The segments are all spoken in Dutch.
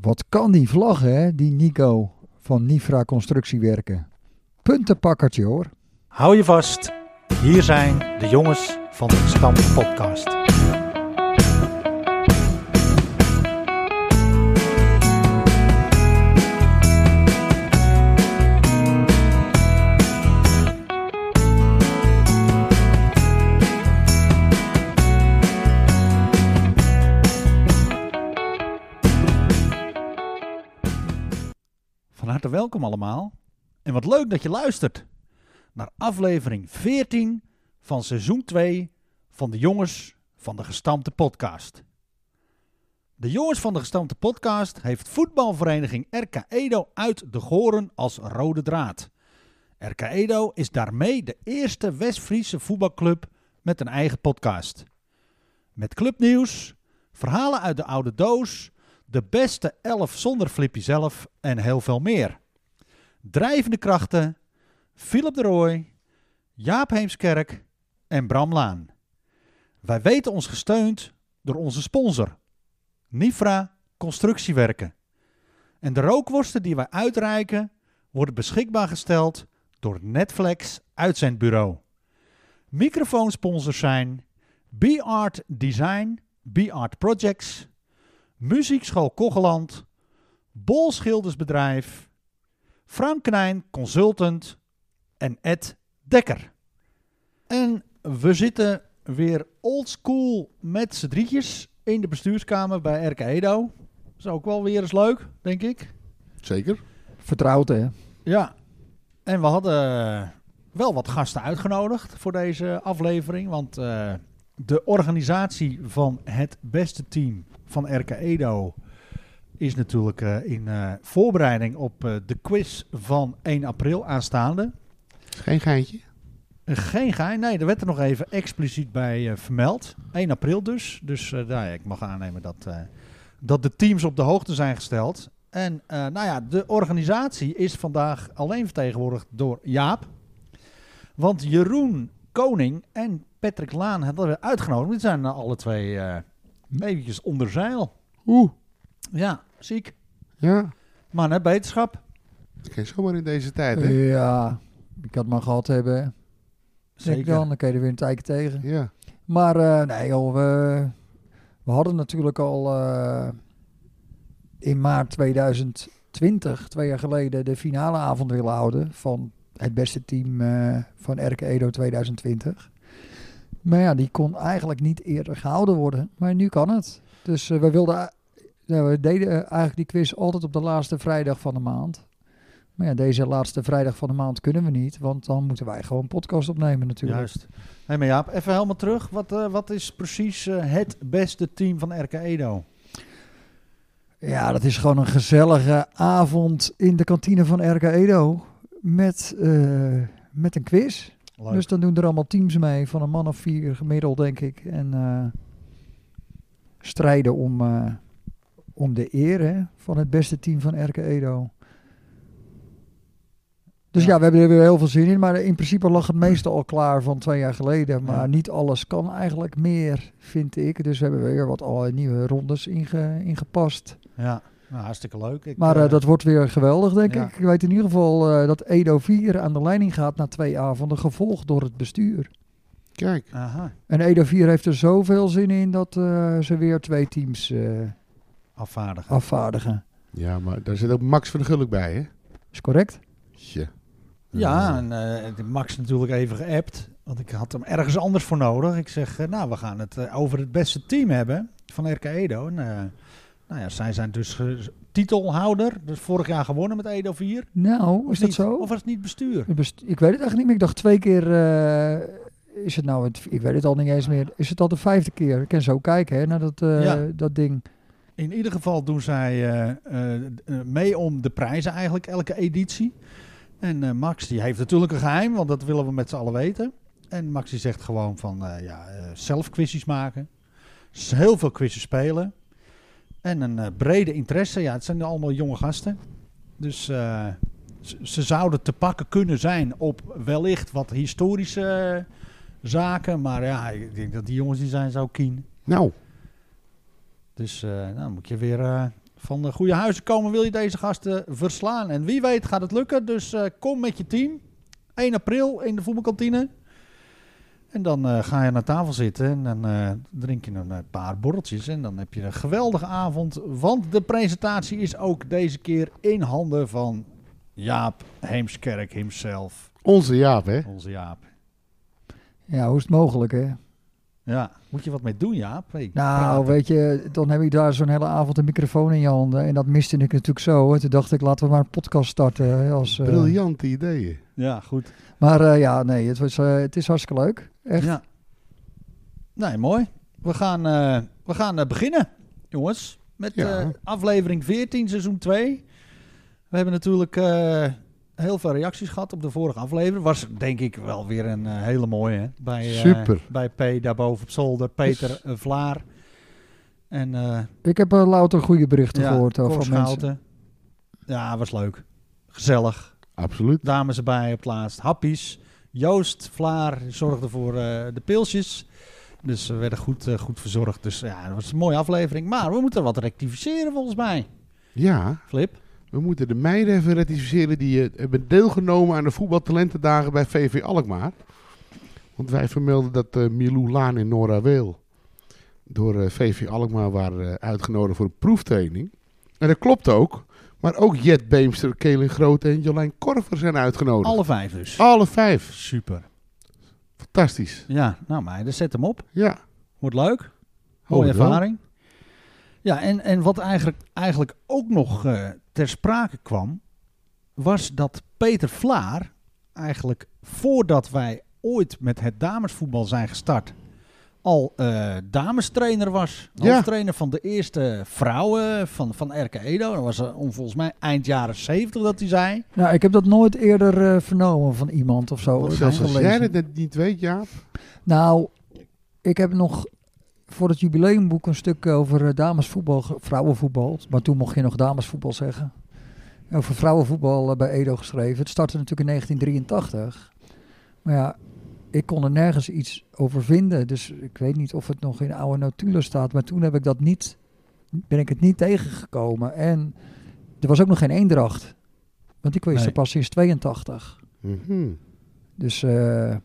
Wat kan die vlaggen, hè, die Nico van Nifra Constructiewerken. Puntenpakkertje hoor. Hou je vast, hier zijn de jongens van de Stam Podcast. Van harte welkom allemaal. En wat leuk dat je luistert naar aflevering 14 van seizoen 2 van de Jongens van de Gestampte Podcast. De Jongens van de Gestampte Podcast heeft voetbalvereniging RK Edo uit de Goren als rode draad. RK Edo is daarmee de eerste West-Friese voetbalclub met een eigen podcast. Met clubnieuws, verhalen uit de oude doos, de beste elf zonder Flippy zelf en heel veel meer. Drijvende krachten, Philip de Rooij, Jaap Heemskerk en Bram Laan. Wij weten ons gesteund door onze sponsor, Nifra Constructiewerken. En de rookworsten die wij uitreiken worden beschikbaar gesteld door Netflix Uitzendbureau. Microfoonsponsors zijn B-Art Design, B-Art Projects, Muziekschool Kogeland, Bol Schildersbedrijf, Frank Knijn Consultant en Ed Dekker. En we zitten weer oldschool met z'n drietjes in de bestuurskamer bij RK Edo. is ook wel weer eens leuk, denk ik. Zeker. Vertrouwd hè. Ja, en we hadden eh, wel wat gasten uitgenodigd voor deze aflevering. Want eh, de organisatie van het beste team van RK Edo is natuurlijk eh, in eh, voorbereiding op eh, de quiz van 1 april aanstaande. Geen geintje. Eh, Geen gein, nee, er werd er nog even expliciet bij eh, vermeld. 1 april dus. Dus eh, nou ja, ik mag aannemen dat, eh, dat de teams op de hoogte zijn gesteld. En eh, nou ja, de organisatie is vandaag alleen vertegenwoordigd door Jaap. Want Jeroen Koning en Patrick Laan hadden we uitgenodigd. Die zijn eh, alle twee eh, eventjes onder zeil. Oeh. Ja, ziek. Ja. Maar net beterschap. Dat kan je zomaar in deze tijd, Eh, hè? Ja, ik had maar gehad hebben. hè. Zeg ik Zeker. dan, dan kun je er weer een tijdje tegen. Ja. Maar eh, nee joh, we, we hadden natuurlijk al eh, in maart 2020, twee jaar geleden, de finale avond willen houden van het beste team eh, van RK Edo 2020. Maar ja, die kon eigenlijk niet eerder gehouden worden, maar nu kan het. Dus eh, we wilden, eh, nou, we deden eh, eigenlijk die quiz altijd op de laatste vrijdag van de maand. Maar ja, deze laatste vrijdag van de maand kunnen we niet, want dan moeten wij gewoon een podcast opnemen natuurlijk. Juist. Hey, maar Jaap, even helemaal terug. Wat, eh, wat is precies eh, het beste team van RK Edo? Ja, dat is gewoon een gezellige avond in de kantine van RK Edo. Met, eh, met een quiz. Leuk. Dus dan doen er allemaal teams mee van een man of vier gemiddeld, denk ik. En eh, strijden om, eh, om de eer hè, van het beste team van RK Edo. Dus Ja. ja. we hebben er weer heel veel zin in. Maar in principe lag het meeste al klaar van twee jaar geleden. Maar Ja. niet alles kan eigenlijk meer, vind ik. Dus we hebben weer wat allerlei nieuwe rondes inge- ingepast. ja, nou, hartstikke leuk. Ik, Maar eh, eh, dat wordt weer geweldig, denk ja. ik. Ik weet in ieder geval eh, dat Edo 4 aan de leiding gaat na twee avonden, gevolgd door het bestuur. Kijk. Aha, En Edo 4 heeft er zoveel zin in dat eh, ze weer twee teams eh, afvaardigen. afvaardigen. Ja, maar daar zit ook Max van de Gulik bij, hè? Is correct? Ja. Ja, en eh, Max natuurlijk even geappt. Want ik had hem ergens anders voor nodig. Ik zeg, eh, nou, we gaan het eh, over het beste team hebben van RK Edo. En, eh, nou ja, zij zijn dus eh, titelhouder. Dus vorig jaar gewonnen met Edo 4. Nou, Of is dat niet? zo? Of was het niet bestuur? Het best- Ik weet het eigenlijk niet meer. Ik dacht twee keer. eh, is het nou, het, ik weet het al niet eens meer. Is het al de vijfde keer? Ik kan zo kijken hè, naar dat, eh, Ja. dat ding. In ieder geval doen zij eh, eh, d- eh, mee om de prijzen eigenlijk elke editie. En eh, Max die heeft natuurlijk een geheim, want dat willen we met z'n allen weten. En Max die zegt gewoon van eh, ja, eh, zelf quizjes maken. S- Heel veel quizjes spelen. En een eh, brede interesse. Ja, het zijn allemaal jonge gasten. Dus eh, ze- ze zouden te pakken kunnen zijn op wellicht wat historische eh, zaken. Maar ja, ik denk dat die jongens die zijn zo keen. Nou, Dus eh nou moet je weer eh, van de goede huizen komen wil je deze gasten verslaan. En wie weet gaat het lukken. Dus eh, kom met je team. 1 april in de voetbalkantine. En dan eh, ga je aan tafel zitten en dan eh, drink je een eh, paar borreltjes. En dan heb je een geweldige avond. Want de presentatie is ook deze keer in handen van Jaap Heemskerk himself. Onze Jaap, hè? Onze Jaap. Ja, hoe is het mogelijk, hè? Ja, moet je wat mee doen, Jaap? Hey, Nou, praten. weet je, dan heb ik daar zo'n hele avond een microfoon in je handen. En dat miste ik natuurlijk zo. hè. Toen dacht ik, laten we maar een podcast starten. hè, Als, eh, Briljante ideeën. Ja, goed. Maar eh, ja, nee, het, was, eh, het is hartstikke leuk. Echt. Ja. Nee, mooi. We gaan, eh, we gaan eh, beginnen, jongens. Met Ja. eh, aflevering 14, seizoen 2. We hebben natuurlijk eh, heel veel reacties gehad op de vorige aflevering. Was denk ik wel weer een eh, hele mooie. Hè? Bij, eh, Super. bij P daarboven op zolder, Peter eh, Vlaar. En eh, Ik heb eh, louter goede berichten ja, gehoord Cor over van mensen. Schouten. Ja, was leuk. Gezellig. Absoluut. dames erbij op het laatst. Happies. Joost Vlaar zorgde voor eh, de pilsjes. Dus ze werden goed, eh, goed verzorgd. Dus ja, dat was een mooie aflevering. Maar we moeten wat rectificeren volgens mij. Ja, Flip. we moeten de meiden even ratificeren die eh, hebben deelgenomen aan de voetbaltalentendagen bij VV Alkmaar. Want wij vermelden dat eh Milou Laan in Nora Weel door eh, VV Alkmaar waren eh, uitgenodigd voor een proeftraining. En dat klopt ook. Maar ook Jet Beemster, Kelen Groot en Jolijn Korver zijn uitgenodigd. Alle vijf dus. Alle vijf. Super. Fantastisch. Ja, nou meiden, zet hem op. Ja. Wordt leuk. Hoop Mooie het wel. ervaring. Ja, en, en wat eigenlijk, eigenlijk ook nog eh, ter sprake kwam, was dat Peter Vlaar eigenlijk voordat wij ooit met het damesvoetbal zijn gestart, al eh, damestrainer was. Ja. Hoofdtrainer van de eerste vrouwen van, van RK Edo. Dat was eh, om, volgens mij eind jaren zeventig dat hij zei. Nou, ik heb dat nooit eerder eh, vernomen van iemand of zo. Want of zelfs als gelezen. jij het net niet weet, Jaap. Nou, ik heb nog voor het jubileumboek een stuk over eh, damesvoetbal, ge- vrouwenvoetbal. Maar toen mocht je nog damesvoetbal zeggen. Over vrouwenvoetbal eh, bij Edo geschreven. Het startte natuurlijk in 1983. Maar ja, ik kon er nergens iets over vinden. Dus ik weet niet of het nog in oude notulen staat. Maar toen heb ik dat niet, ben ik het niet tegengekomen. En er was ook nog geen eendracht. Want ik wist Nee. er pas sinds 82. Mhm. Dus, eh,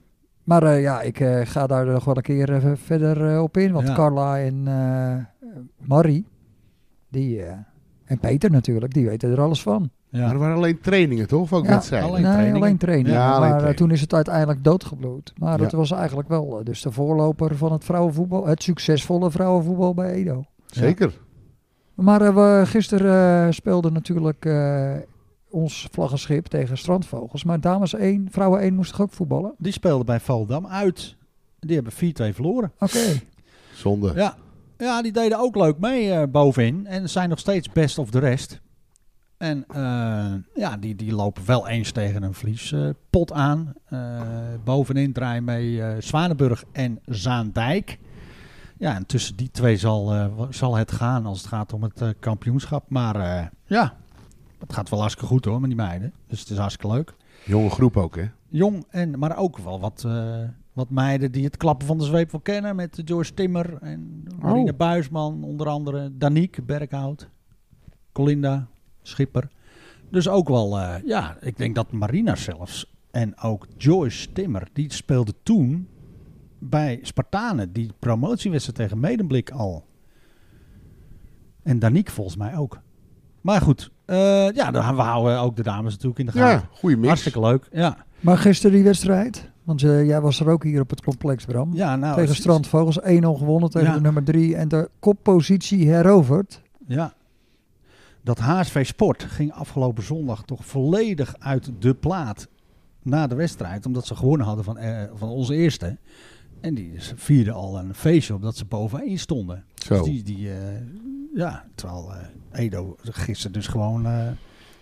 maar eh, ja, ik eh, ga daar nog wel een keer even verder eh, op in. Want Ja. Carla en eh Marie, die, eh, en Peter natuurlijk, die weten er alles van. Maar Ja, er waren alleen trainingen, toch? Of ook Ja, wedstrijden? Alleen nee, trainingen. alleen trainen. Ja, alleen maar eh, trainingen. toen is het uiteindelijk doodgebloed. Maar Ja. het was eigenlijk wel eh, dus de voorloper van het vrouwenvoetbal, het succesvolle vrouwenvoetbal bij Edo. Zeker. Maar eh, we, gisteren eh speelde natuurlijk eh, ons vlaggenschip tegen Strandvogels. Maar dames 1, vrouwen 1 moest toch ook voetballen? die speelde bij Valdam uit. Die hebben 4-2 verloren. Oké. Zonde. Ja. ja, die deden ook leuk mee eh, bovenin. En zijn nog steeds best of de rest. En eh, ja, die, die lopen wel eens tegen een vliespot aan. Eh, bovenin draaien mee eh Zwanenburg en Zaandijk. Ja, en tussen die twee zal, eh, wa- zal het gaan als het gaat om het eh, kampioenschap. Maar eh, ja, het gaat wel hartstikke goed hoor met die meiden. Dus het is hartstikke leuk. Jonge groep ook, hè? Jong, en, maar ook wel wat, eh, wat meiden die het klappen van de zweep wel kennen. Met eh, Joyce Timmer en Marine Oh. Buisman onder andere. Danique Berghout, Colinda Schipper. Dus ook wel, eh, ja, ik denk dat Marina zelfs en ook Joyce Timmer, die speelde toen bij Spartanen die promotiewedstrijd tegen Medemblik al. En Danique volgens mij ook. Maar goed, eh, ja, dan- we houden ook de dames natuurlijk in de gaten. Ja, goede mix. Hartstikke leuk, ja. Maar gisteren die wedstrijd, want eh, jij was er ook hier op het complex, Bram. Ja, nou, tegen het- Strandvogels 1-0 gewonnen tegen Ja. de nummer 3 en de koppositie heroverd. Ja. Dat HSV Sport ging afgelopen zondag toch volledig uit de plaat na de wedstrijd. Omdat ze gewonnen hadden van, eh, van onze eerste. En die is- vierden al een feestje omdat ze bovenin stonden. Zo. Dus die, die eh, ja, terwijl eh, Edo gisteren dus gewoon eh,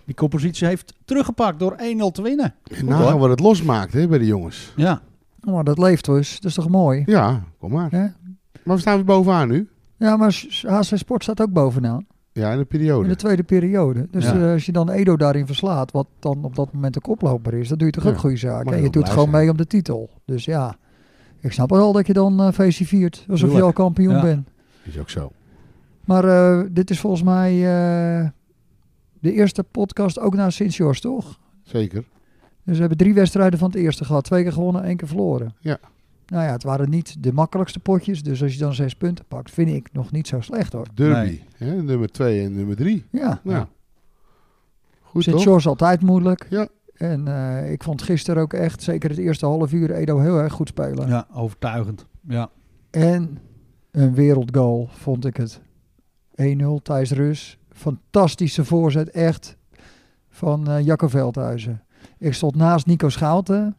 die compositie heeft teruggepakt door 1-0 te winnen. En Goed, hoor. nagaan wat het losmaakt, hè, bij de jongens. Ja, Maar dat leeft dus, dat is toch mooi? Ja, kom maar. hè? Maar we staan weer bovenaan nu. Ja, maar S- HC Sport staat ook bovenaan Oh, Ja, in de in de periode. tweede periode. Dus Ja. eh, als je dan Edo daarin verslaat, wat dan op dat moment ook oploper is, dan doe je toch Ja. ook goede zaken. En Mag je je ook doet blij gewoon zijn. mee om de titel. Dus ja, ik snap wel dat je dan eh feestje viert, alsof je Tuurlijk. al kampioen Ja. bent. Is ook zo. Maar eh, dit is volgens mij eh, de eerste podcast ook na sinds Jors, toch? Zeker. Dus we hebben drie wedstrijden van het eerste gehad. Twee keer gewonnen, één keer verloren. Ja. Nou ja, het waren niet de makkelijkste potjes. Dus als je dan zes punten pakt, vind ik nog niet zo slecht hoor. Derby. Nee. Hè? Nummer 2 en nummer 3. Ja. Nou, Ja. goed Sint toch? George altijd moeilijk. Ja. En eh, ik vond gisteren ook echt, zeker het eerste half uur, Edo heel erg goed spelen. Ja, overtuigend. Ja. En een wereldgoal vond ik het. 1-0 Thijs Rus. Fantastische voorzet, echt, van eh Jacco Veldhuizen. Ik stond naast Nico Schouten.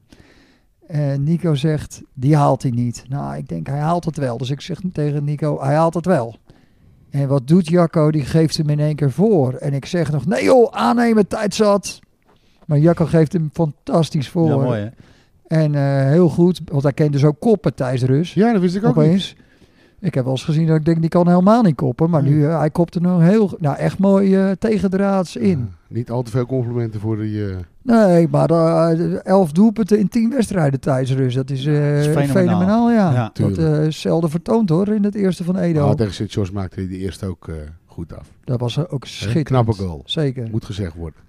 En Nico zegt, die haalt hij niet. Nou, ik denk, hij haalt het wel. Dus ik zeg tegen Nico, hij haalt het wel. En wat doet Jacco? Die geeft hem in één keer voor. En ik zeg nog, nee joh, aannemen, tijd zat. Maar Jacco geeft hem fantastisch voor. ja, mooi hè. En eh, heel goed, want hij kent dus ook koppen, Thijs Rus Ja, dat wist ik ook niet. opeens. Ik heb wel eens gezien dat ik denk, die kan helemaal niet koppen. Maar Nee. nu, eh, hij kopte nog heel, nou echt mooi eh, tegendraads in. Ja, niet al te veel complimenten voor die... eh, Nee, maar eh, elf doelpunten in tien wedstrijden tijdens rust. Dat is, eh, is fenomenaal. fenomenaal. ja. Ja. dat eh, is zelden vertoond hoor, in het eerste van Edo. ah, tegen Sint George maakte hij de eerste ook eh, goed af. dat was eh, ook Een schitterend. Knappe goal. Zeker. Moet gezegd worden.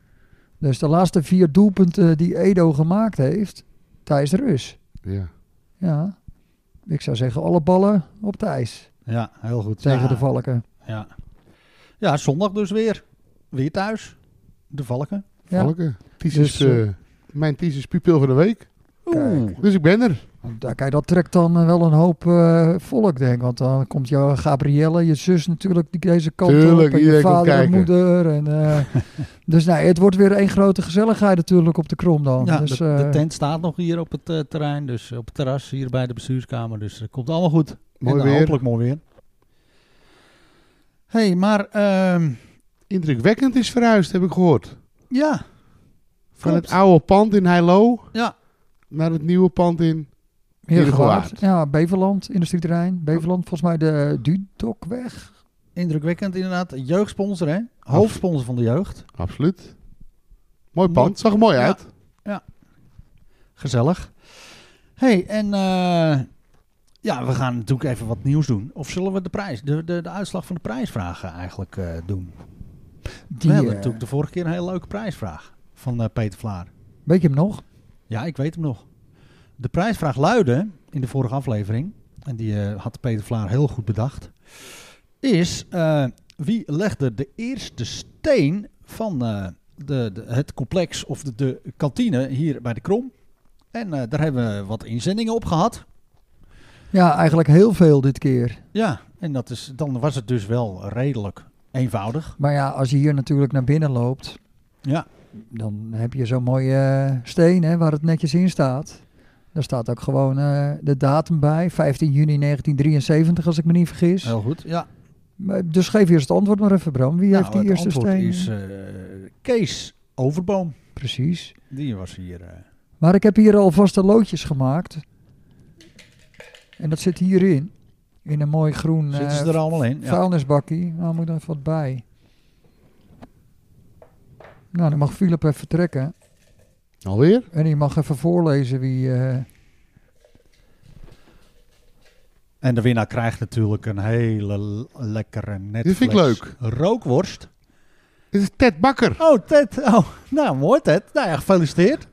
Dus de laatste vier doelpunten eh, die Edo gemaakt heeft, tijdens rust. Ja. Ja, ik zou zeggen alle ballen op Thijs Ja, heel goed. tegen ja. de Valken. Ja. ja, zondag dus weer. Weer thuis. De Valken. Ja. Valken. Thesis, Dus, eh, eh, mijn thesis pupil van de week. Kijk. Dus ik ben er. Want daar- Kijk, dat trekt dan eh, wel een hoop eh, volk, denk ik. Want dan komt jouw Gabrielle, je zus natuurlijk, die deze kant Tuurlijk, op. En je iedereen komt vader en kijken. moeder. En, eh, dus nou, het wordt weer één grote gezelligheid natuurlijk op de Krom dan. Ja, dus, de, eh, de tent staat nog hier op het eh, terrein. Dus op het terras hier bij de bestuurskamer. Dus het komt allemaal goed. en eh, Mooi dan weer. hopelijk mooi weer. hey, maar ehm, Indrukwekkend is verhuisd, heb ik gehoord. ja. Van Klopt. het oude pand in Heilo Ja. naar het nieuwe pand in... Heergewaard. Heergewaard. Ja, Beverland, industrieterrein. Beverland, volgens mij de Dudokweg. Indrukwekkend inderdaad. Jeugdsponsor hè. Hoofdsponsor van de jeugd. Absoluut. Mooi pand. Zag er mooi Ja. uit. Gezellig. hey, en eh, ja, we gaan natuurlijk even wat nieuws doen. Of zullen we de prijs, de, de, de uitslag van de prijsvragen eigenlijk eh, doen? Die, we hebben eh, natuurlijk de vorige keer een hele leuke prijsvraag van eh, Peter Vlaar. Weet je hem nog? Ja, ik weet hem nog. De prijsvraag luidde in de vorige aflevering, en die eh, had Peter Vlaar heel goed bedacht, is eh, wie legde de eerste steen van eh, de, de- het complex of de, de kantine hier bij de Krom? En eh, daar hebben we wat inzendingen op gehad. Ja, eigenlijk heel veel dit keer. Ja, en dat is, dan was het dus wel redelijk eenvoudig. Maar ja, als je hier natuurlijk naar binnen loopt, Ja, dan heb je zo'n mooie eh, steen hè, waar het netjes in staat. Daar staat ook gewoon eh, de datum bij, 15 juni 1973 als ik me niet vergis. heel goed. Ja. Maar, dus geef eerst het antwoord maar even Bram. Wie Nou, heeft die het eerste antwoord steen? is eh, Kees Overboom. Precies. Die was hier. eh, Maar ik heb hier alvast de loodjes gemaakt. En dat zit hierin. In een mooi groen zitten eh, ze er allemaal in? Ja. vuilnisbakkie. Nou moet er even wat bij. Nou, dan mag Philip even trekken. Alweer? En die mag even voorlezen wie... eh, En de winnaar krijgt natuurlijk een hele l- lekkere Netflix. Dit vind ik leuk. Rookworst. Dit is Ted Bakker. Oh, Ted. Oh, nou, mooi Ted. Nou ja, gefeliciteerd.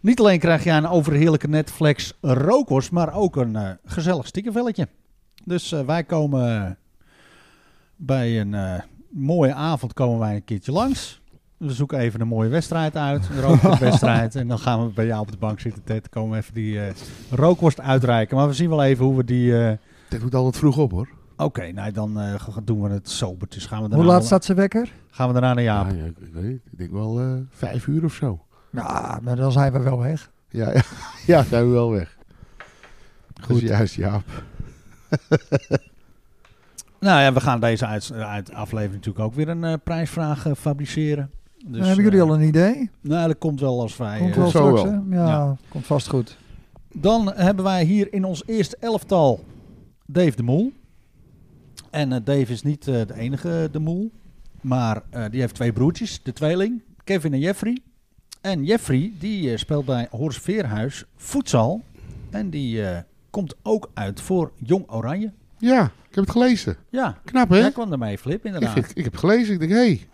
Niet alleen krijg jij een overheerlijke Netflix rookworst, maar ook een eh, gezellig stickervelletje. Dus eh, wij komen bij een eh, mooie avond komen wij een keertje langs. We zoeken even een mooie wedstrijd uit, een rookworstwedstrijd. en dan gaan we bij jou op de bank zitten, Ted. Komen we even die eh, rookworst uitreiken. Maar we zien wel even hoe we die... eh, Ted doet altijd vroeg op hoor. Oké, nou dan eh, g- doen we het sobertjes. Gaan we daarna, hoe laat staat zijn wekker? gaan we daarna naar Jaap. Ah, ja, ik, ik weet niet. Ik denk wel eh, vijf uur of zo. Nou, maar dan zijn we wel weg. Ja, ja, ja zijn we wel weg. Goed. Goed. juist, Jaap. Nou ja, we gaan deze uit, uit aflevering natuurlijk ook weer een eh, prijsvraag eh, fabriceren. Dus, Dan hebben jullie eh, al een idee? Nou, dat komt wel als wij... Komt eh, wel zo straks, wel. hè? Ja, Ja. komt vast goed. Dan hebben wij hier in ons eerste elftal Dave de Moel. En eh, Dave is niet eh, de enige de Moel. Maar eh, die heeft twee broertjes, de tweeling, Kevin en Jeffrey. En Jeffrey die eh, speelt bij Horst Veerhuis voedsel. En die eh, komt ook uit voor Jong Oranje. Ja, ik heb het gelezen. Ja, Knap, hè? jij kwam ermee, Flip, ik, inderdaad. vind- ik heb het gelezen. Ik denk, hé, hey,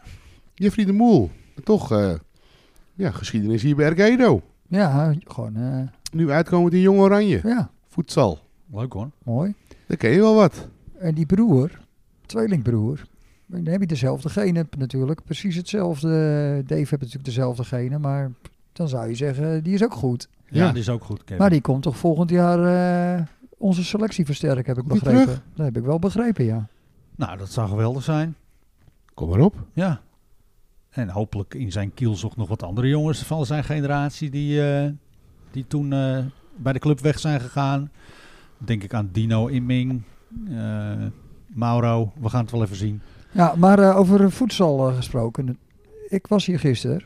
Jeffrey de Moel. En toch, eh, ja, geschiedenis hier bij Ergedo. Ja, gewoon, eh, Nu uitkomend in Jong Oranje. ja, Voedsel. Leuk hoor. mooi. Daar ken je wel wat. En die broer, tweelingbroer, dan heb je dezelfde genen natuurlijk. Precies hetzelfde. Dave heeft natuurlijk dezelfde genen, maar dan zou je zeggen, die is ook goed. Ja, Ja. die is ook goed, Kevin. Maar die komt toch volgend jaar eh, onze selectie versterken, heb ik Komt die begrepen. Dat heb ik wel begrepen, ja. Nou, dat zou geweldig zijn. Kom maar op. Ja. En hopelijk in zijn kielzocht nog wat andere jongens van zijn generatie die, eh, die toen eh, bij de club weg zijn gegaan. Denk ik aan Dino Imming, eh, Mauro. We gaan het wel even zien. Ja, maar eh, over voedsel eh, gesproken. Ik was hier gisteren,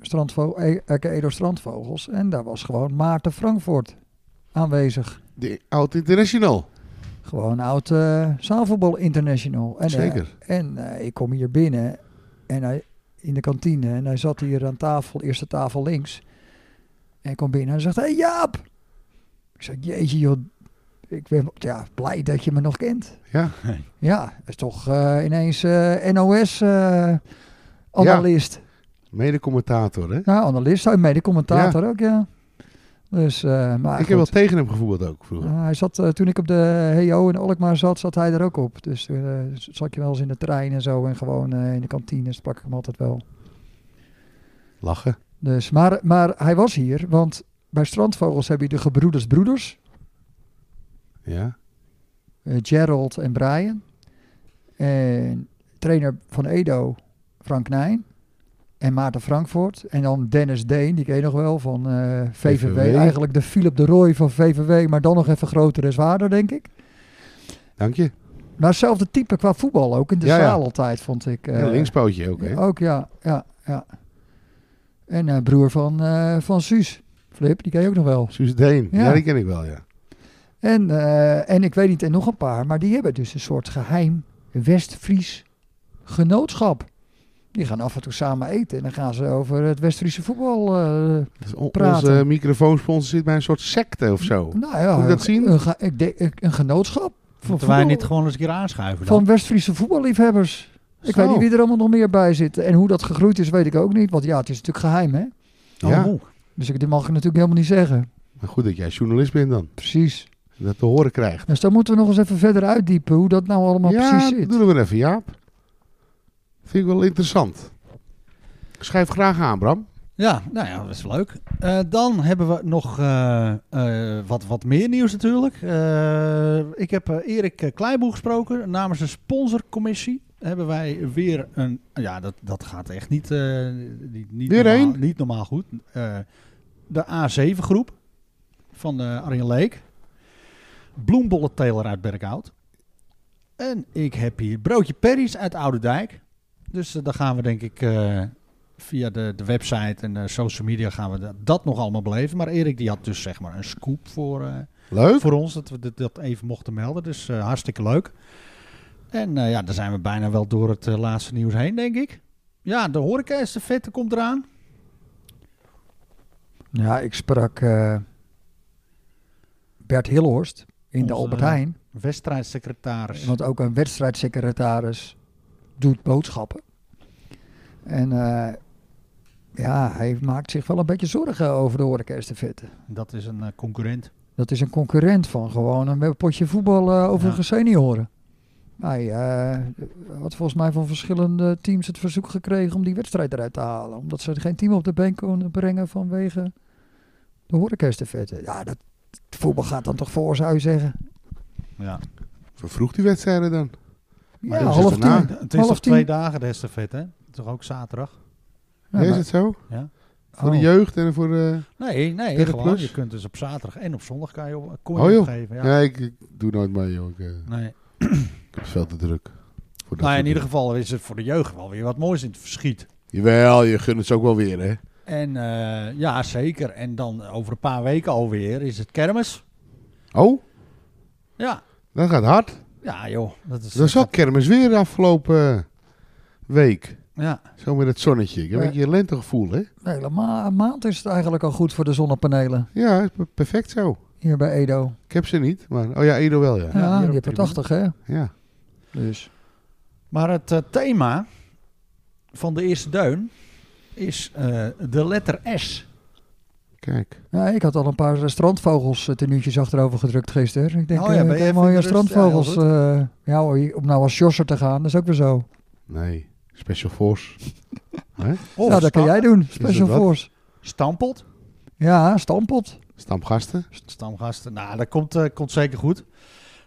Strandvo- eh, aka Edo Strandvogels, en daar was gewoon Maarten Frankfurt aanwezig. De Oud International. Gewoon oud eh zaalvoetbal international. En, eh, Zeker. En eh, ik kom hier binnen en hij, in de kantine en hij zat hier aan tafel, eerste tafel links. En ik kom binnen en hij zegt, hé hey Jaap! Ik zeg, jeetje joh, ik ben ja, blij dat je me nog kent. Ja, Ja, dat is toch eh, ineens eh, NOS-analyst. mede-commentator, hè? Nou, analist, hij mede-commentator ook, ja. Dus, eh, maar ik heb wel goed. tegen hem gevoetbald ook vroeger. Ja, hij zat, eh, toen ik op de HEO in Alkmaar zat, zat hij er ook op. Dus toen eh, z- zat je wel eens in de trein en zo. En gewoon eh, in de kantine sprak ik hem altijd wel. Lachen. Dus, maar, maar hij was hier, want bij Strandvogels heb je de gebroeders Broeders. Ja. eh, Gerald en Brian. En trainer van Edo, Frank Nijn. En Maarten Frankfurt. En dan Dennis Deen, die ken je nog wel, van eh, VVW. VVW. Eigenlijk de Philip de Roy van VVW, maar dan nog even groter en zwaarder, denk ik. Dank je. Maar hetzelfde type qua voetbal ook, in de Ja, ja. zaal altijd, vond ik. eh, Een linkspootje ook, hè? Ook, ja. ja, ja. En eh, broer van, eh, van Suus, Flip, die ken je ook nog wel. Suus Deen. Ja. Ja. die ken ik wel, ja. En, eh, en ik weet niet, en nog een paar, maar die hebben dus een soort geheim West-Fries genootschap. Die gaan af en toe samen eten en dan gaan ze over het West-Friese voetbal. eh, Dus on- Praten. onze microfoonsponsor zit bij een soort secte of zo. nou ja, Moet ik dat zien? Een, ge- ik denk- een genootschap van, Moeten wij voetbal- niet gewoon eens een keer aanschuiven dan? van West-Friese voetballiefhebbers. Ik Zo. weet niet wie er allemaal nog meer bij zit. En hoe dat gegroeid is, weet ik ook niet. Want ja, het is natuurlijk geheim, hè? Ja. Oh, Dus ik, dit mag ik natuurlijk helemaal niet zeggen. Maar goed dat jij journalist bent dan. Precies. Dat te horen krijgt. Dus dan moeten we nog eens even verder uitdiepen hoe dat nou allemaal ja, precies dat zit. doen we maar even, Jaap. Vind ik wel interessant. Schrijf graag aan, Bram. Ja, nou ja, dat is leuk. Eh, dan hebben we nog eh, eh, wat, wat meer nieuws natuurlijk. Eh, ik heb eh, Erik eh, Kleiboe gesproken namens de sponsorcommissie. Hebben wij weer een. Ja, dat, dat gaat echt niet. eh, niet, niet, Weer normaal, één? niet normaal goed. Eh, de A7-groep van eh Arjen Leek. Bloembollenteler uit Berkhout. En ik heb hier broodje Perry's uit Oude Dijk. Dus eh, daar gaan we denk ik. eh, via de, de website en de social media gaan we dat, dat nog allemaal beleven. Maar Erik die had dus zeg maar een scoop voor, eh, Leuk. voor ons dat we dit, dat even mochten melden. Dus eh, hartstikke leuk. En eh, ja, daar zijn we bijna wel door het eh, laatste nieuws heen, denk ik. Ja, de horeca is de vette komt eraan. Ja, ik sprak eh, Bert Hillhorst in de Onze- Albert Heijn. Wedstrijdsecretaris. Want ook een wedstrijdsecretaris doet boodschappen. En eh, ja, hij maakt zich wel een beetje zorgen over de horeca-estafette. Dat is een eh, concurrent. Dat is een concurrent van gewoon een potje voetbal eh, over Ja. een senioren. Hij eh, had volgens mij van verschillende teams het verzoek gekregen om die wedstrijd eruit te halen. Omdat ze geen team op de bank konden brengen vanwege de horecaestafette. Ja, dat het voetbal gaat dan toch voor, zou je zeggen. Ja. Vervroeg die wedstrijden dan. Ja, dat is half het daarna. tien. Het is Half toch tien. twee dagen de estafette, hè? Toch ook zaterdag? Ja, is maar- het zo? Ja. Voor de oh. jeugd en voor... eh, Nee, nee, Tegen gewoon. plus? Je kunt dus op zaterdag en op zondag kan je, op- Oh, kon je joh. opgeven. Ja. Nee, ik, ik doe nooit mee, joh. Ik, eh, Nee. ik heb het veel te druk. Voor dat Nou, soort in ieder dingen. geval is het voor de jeugd wel weer wat moois in het verschiet. Jawel, je gunt het ze ook wel weer, hè? En eh, ja, zeker. En dan over een paar weken alweer is het kermis. Oh, Ja, dat gaat hard. ja joh. Dat is, Er was ook kermis weer de afgelopen eh, week. Ja, Zo met het zonnetje. Ik heb Ja. een beetje lentegevoel, hè? Nee, helemaal- een maand is het eigenlijk al goed voor de zonnepanelen. Ja, is per- perfect zo. hier bij Edo. Ik heb ze niet, maar... Oh ja, Edo wel, ja. Ja, hier die op hebben de 80 hè. Ja, Dus. Maar het eh, thema van de eerste duin is eh, de letter S. kijk. Ja, ik had al een paar eh, strandvogels eh, tenuutjes achterover gedrukt gisteren. Ik denk, Oh oh ja, ja, ben jij mooie even rust- ja, heel strandvogels. eh, ja, hoor, om nou als Sjosser te gaan, dat is ook weer zo. Oh, Nee, Special Force. Hè? Of nou, dat kan sta- jij doen. dat Special wat? Force. Stampelt. Ja, stampot. Stamgasten. Stamgasten. Nou, dat komt, eh, komt zeker goed.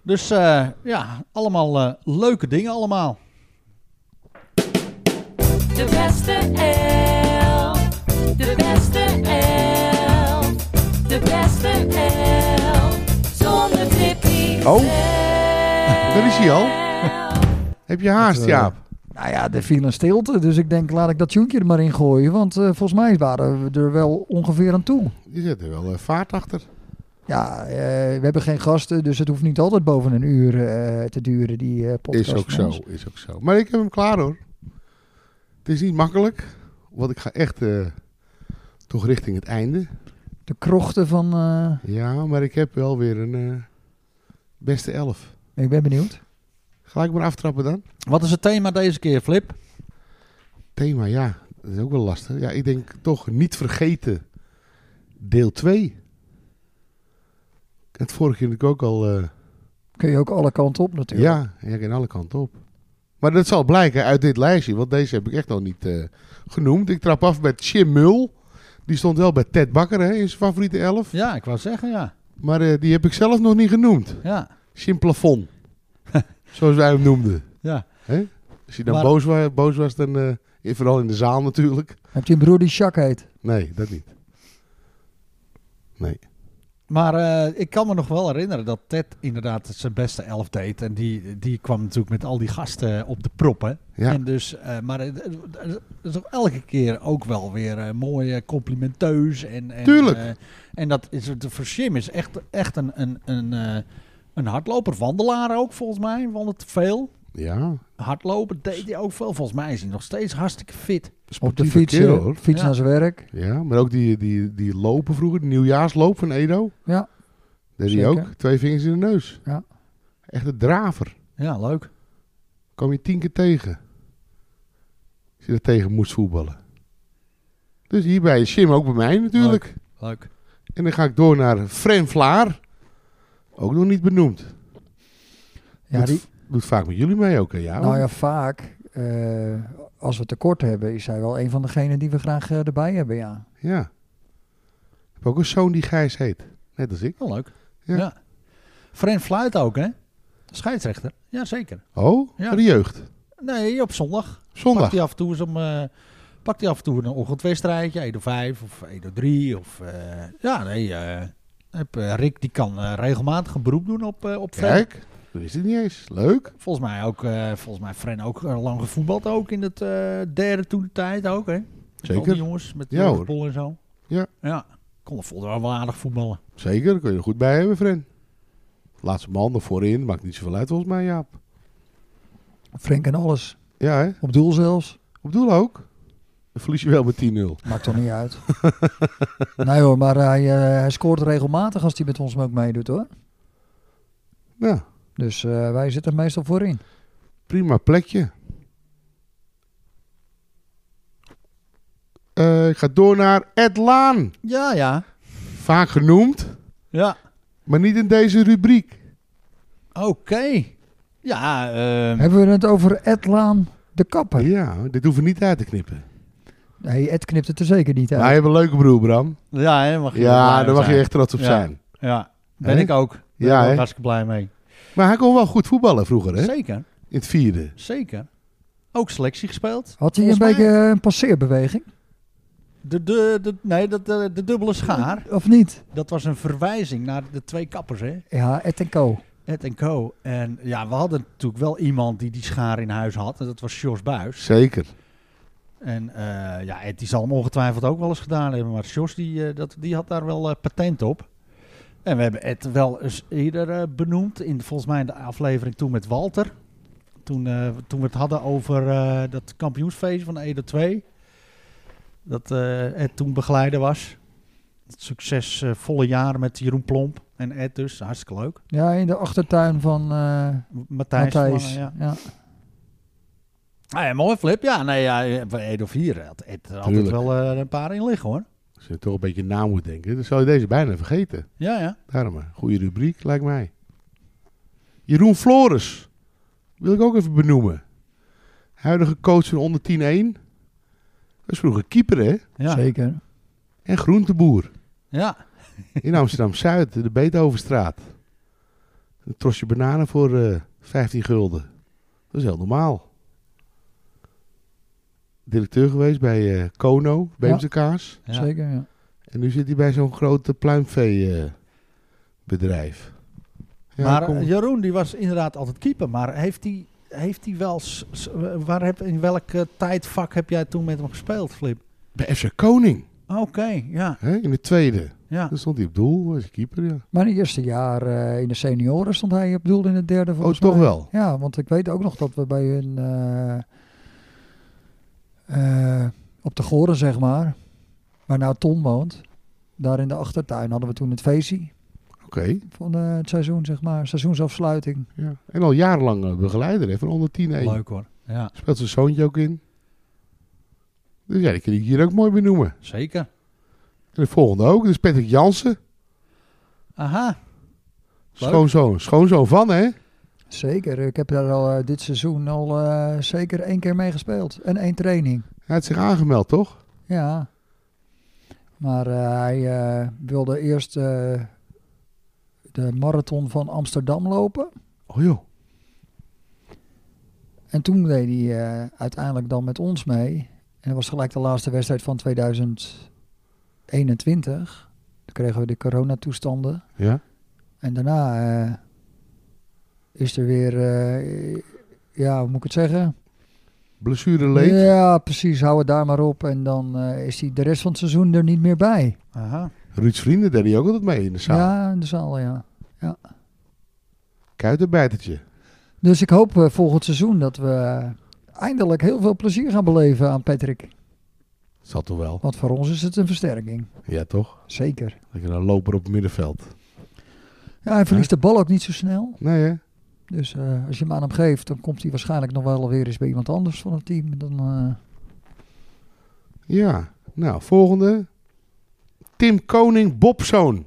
Dus eh, ja, allemaal eh, leuke dingen allemaal. De beste elf. De beste elf. De beste elf. Zonder Tippy. Oh. Daar is hij al. Heb je haast, Dat, eh, Jaap? Nou ja, er viel een stilte, dus ik denk, laat ik dat tjoentje er maar in gooien. Want eh, volgens mij waren we er wel ongeveer aan toe. Je zet er wel eh, vaart achter. Ja, eh, we hebben geen gasten, dus het hoeft niet altijd boven een uur eh, te duren, die eh podcast. Is ook van zo, ons. is ook zo. Maar ik heb hem klaar hoor. Het is niet makkelijk, want ik ga echt eh, toch richting het einde. De krochten van... eh, Ja, maar ik heb wel weer een eh, beste elf. ik ben benieuwd. Ga ik maar aftrappen dan? Wat is het thema deze keer, Flip? Thema, ja, dat is ook wel lastig. Ja, ik denk toch niet vergeten deel 2. Het vorige keer natuurlijk ook al... eh, Kun je ook alle kanten op natuurlijk. Ja, ja, ik in alle kanten op. Maar dat zal blijken uit dit lijstje, want deze heb ik echt nog niet eh, genoemd. Ik trap af met Jim Mul. Die stond wel bij Ted Bakker hè, in zijn favoriete elf. Ja, ik wou zeggen, ja. Maar eh, die heb ik zelf nog niet genoemd. Ja, Jim Plafond. zoals wij hem noemden. ja. Als je dan Maar- boos, wa- boos was, dan, eh, in- vooral in de zaal natuurlijk. Heb je een broer die Jacques heet? Nee, dat niet. Maar eh, ik kan me nog wel herinneren dat Ted inderdaad zijn beste elf deed. En die, die kwam natuurlijk met al die gasten op de proppen. Ja, En dus, eh, maar het het- het is ook elke keer ook wel weer eh, mooi eh, complimenteus. En, en, Tuurlijk. eh, en dat is, het- voor Jim is echt, echt een, een, een, eh, een hardloper, wandelaar ook volgens mij. Wandelt veel. ja. Hardlopen deed hij ook veel. Volgens mij is hij nog steeds hartstikke fit. Op de sportieve fiets, kerel, eh, hoor. fiets Ja. naar zijn werk. Ja, maar ook die, die, die lopen vroeger, de nieuwjaarsloop van Edo. Ja. Dat hij Zeker. ook, twee vingers in de neus. Ja. Echt een draver. Ja, leuk. kwam je tien keer tegen. Als je er tegen moest voetballen. Dus hierbij is Jim ook bij mij natuurlijk. Leuk. En dan ga ik door naar Fren Vlaar. Ook nog niet benoemd. Ja, doet, die, doet vaak met jullie mee ook, hè? Ja, nou ja, vaak. eh, als we tekort hebben, is hij wel een van degenen die we graag eh, erbij hebben, ja. Ja. Ik heb ook een zoon die Gijs heet. Net als ik. Wel leuk. Ja. Ja. Fren Fluit ook, hè? Scheidsrechter. Jazeker. Oh, Ja. voor de jeugd. Nee, op zondag. Zondag. Pakt hij af en toe eens om... eh, pakt hij af en toe een ochtendwedstrijdje. Edo 5 of Edo 3 of... eh, ja, nee. eh heb, eh, Rick die kan eh, regelmatig een beroep doen op, eh op Fren. Kijk, dat is het niet eens. Leuk. Volgens mij ook... eh, volgens mij Fren ook eh, lang gevoetbald ook in het eh, derde toen de tijd ook, hè? Met Zeker. al die jongens met Ja, Joris hoor. Bol en zo. Ja. Ja. Kon er volgens wel aardig voetballen. Zeker, daar kun je er goed bij hebben, Fren. Laatste man er voorin. Maakt niet zoveel uit volgens mij, Jaap. Frank en alles. Ja, hè? Op doel zelfs. Op doel ook. Dan verlies je wel met 10-0. Maakt toch niet uit. nee hoor, maar hij, eh, hij scoort regelmatig als hij met ons ook meedoet hoor. Nou, Dus eh, wij zitten meestal voorin. prima plekje. Eh, ik ga door naar Ed Laan. Ja, ja. Vaak genoemd, Ja. maar niet in deze rubriek. Oké. Ja, ehm, Hebben we het over Ed Laan de kapper? Ja, dit hoeven we niet uit te knippen. Nee, Ed knipt het er zeker niet uit. Maar hij heeft een leuke broer, Bram. ja hè, mag je wel blij Ja, om daar mag je zijn. echt trots op Ja. zijn. Ja, ben Hè? ik ook. Daar Ja, ben ik hè? ook hartstikke blij mee. Maar hij kon wel goed voetballen vroeger, hè? Zeker, In het vierde. zeker. Ook selectie gespeeld. Had hij een Volgens beetje eh, een passeerbeweging? De, de, de, nee, de, de, de dubbele schaar. Of niet? Dat was een verwijzing naar de twee kappers, hè? Ja, Ed en Co. Ed en Co. En ja, we hadden natuurlijk wel iemand die die schaar in huis had. En dat was Jos Buis. Zeker. En eh, ja, Ed die zal hem ongetwijfeld ook wel eens gedaan hebben. Maar Jos die, eh, dat, die had daar wel eh, patent op. En we hebben Ed wel eens eerder eh, benoemd. In, volgens mij in de aflevering toen met Walter. Toen, eh, toen we het hadden over eh, dat kampioensfeest van Edo 2. Dat eh, Ed toen begeleider was. Het succesvolle jaar met Jeroen Plomp. En Ed dus, hartstikke leuk. Ja, in de achtertuin van eh Matthijs. Matthijs. Lange, ja. Ja. Ja. Ah, ja, mooi flip. Ja, nee, ja, eh, bij Ed of hier had Ed er altijd Tuurlijk. wel eh, een paar in liggen hoor. Als je toch een beetje na moet denken, dan zou je deze bijna vergeten. Ja, ja. Daarom maar. Goede rubriek, lijkt mij. Jeroen Flores. Wil ik ook even benoemen. Huidige coach van onder 10-1. Dat is vroeger keeper, hè? ja. Zeker. En groenteboer. Ja, In Amsterdam-Zuid, de Beethovenstraat. Een trosje bananen voor eh 15 gulden. Dat is heel normaal. Directeur geweest bij eh Kono, Beemse Kaas. ja. Zeker, ja. En nu zit hij bij zo'n eh, grote pluimveebedrijf. ja, maar kom. eh, Jeroen, die was inderdaad altijd keeper. Maar heeft hij heeft die wel... s- s- Waar heb, in welk eh, tijdvak heb jij toen met hem gespeeld, Flip? bij FC Koning, Oké, ja, hè, in de tweede. ja. Dan stond hij op doel, was hij keeper, ja. Maar in het eerste jaar eh, in de senioren stond hij op doel in het derde Oh, volgens toch mij. wel. Ja, want ik weet ook nog dat we bij hun eh, eh, op de Goren, zeg maar, waar nou Ton woont, daar in de achtertuin hadden we toen het feestje Oké. van eh, het seizoen, zeg maar, seizoensafsluiting. Ja. En al jarenlang eh, begeleider, hè, van onder 10 1 Leuk hoor. Ja, Speelt zijn zoontje ook in. Dus ja, die kan ik hier ook mooi benoemen. zeker. En de volgende ook, dus Patrick Jansen. Aha. Leuk. Schoonzoon, schoonzoon van, hè? Zeker, ik heb daar al eh, dit seizoen al eh, zeker één keer mee gespeeld en één training. Hij had zich aangemeld, toch? Ja. Maar eh, hij eh, wilde eerst eh, de marathon van Amsterdam lopen. Oh joh. En toen deed hij eh, uiteindelijk dan met ons mee. En dat was gelijk de laatste wedstrijd van 2021. Toen kregen we de coronatoestanden. Ja. En daarna eh, is er weer, eh, ja, hoe moet ik het zeggen? Blessure leed. Ja, precies. Hou het daar maar op. En dan eh, is hij de rest van het seizoen er niet meer bij. Aha. Ruud's vrienden deed hij ook altijd mee in de zaal. Ja, in de zaal, ja. Kuitenbijtertje. Dus ik hoop eh, volgend seizoen dat we eindelijk heel veel plezier gaan beleven aan Patrick. Zat toch wel? Want voor ons is het een versterking. Ja, toch? Zeker. Lekker een loper op het middenveld. Ja, hij verliest de bal ook niet zo snel. Nee, hè? Dus eh, als je hem aan hem geeft, dan komt hij waarschijnlijk nog wel weer eens bij iemand anders van het team. Dan, eh, Ja, nou, volgende. Tim Koning Bobzoon.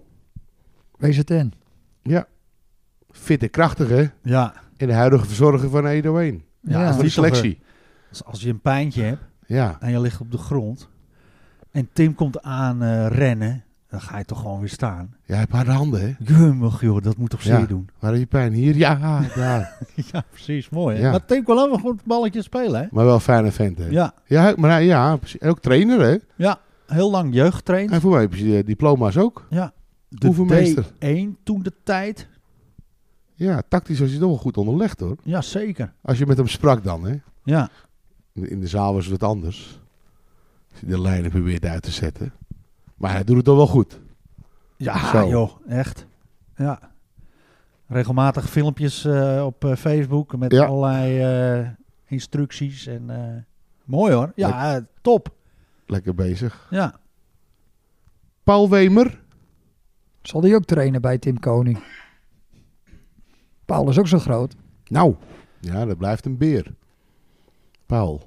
WZN. Fit en krachtig, hè? Ja. En de huidige verzorger van Edo 1. Ja, Ja, als Voor ja. de die toch, selectie. Als- Als je een pijntje hebt Ja. en je ligt op de grond en Tim komt aan eh, rennen, dan ga je toch gewoon weer staan. Ja, heb harde handen, hè? Jummig joh, dat moet toch zeer Ja. doen. Waar heb je pijn? Hier? Ja, daar. Ja, precies. Mooi hè. Ja. Maar Tim kan wel een goed balletje spelen hè. maar wel fijne vent, hè? Ja, Ja, maar hij, ja, precies. En ook trainer, hè? heel lang jeugd getraind. En voor mij heb je eh, diploma's ook. De oefenmeester. D1 toen de tijd. Ja, tactisch was hij toch wel goed onderlegd, hoor. Ja, zeker. Als je met hem sprak dan, hè? Ja. In de- In de zaal was het wat anders. Als je de lijnen probeert uit te zetten. Maar hij doet het toch wel goed. Ja, Zo. Ah, joh, echt. Ja. Regelmatig filmpjes eh, op eh, Facebook met Ja. allerlei eh, instructies. En, eh, mooi hoor. Ja, eh, top. Lekker bezig. Ja. Paul Wemer. Zal die ook trainen bij Tim Koning? Paul is ook zo groot. Nou, ja, dat blijft een beer. Paul.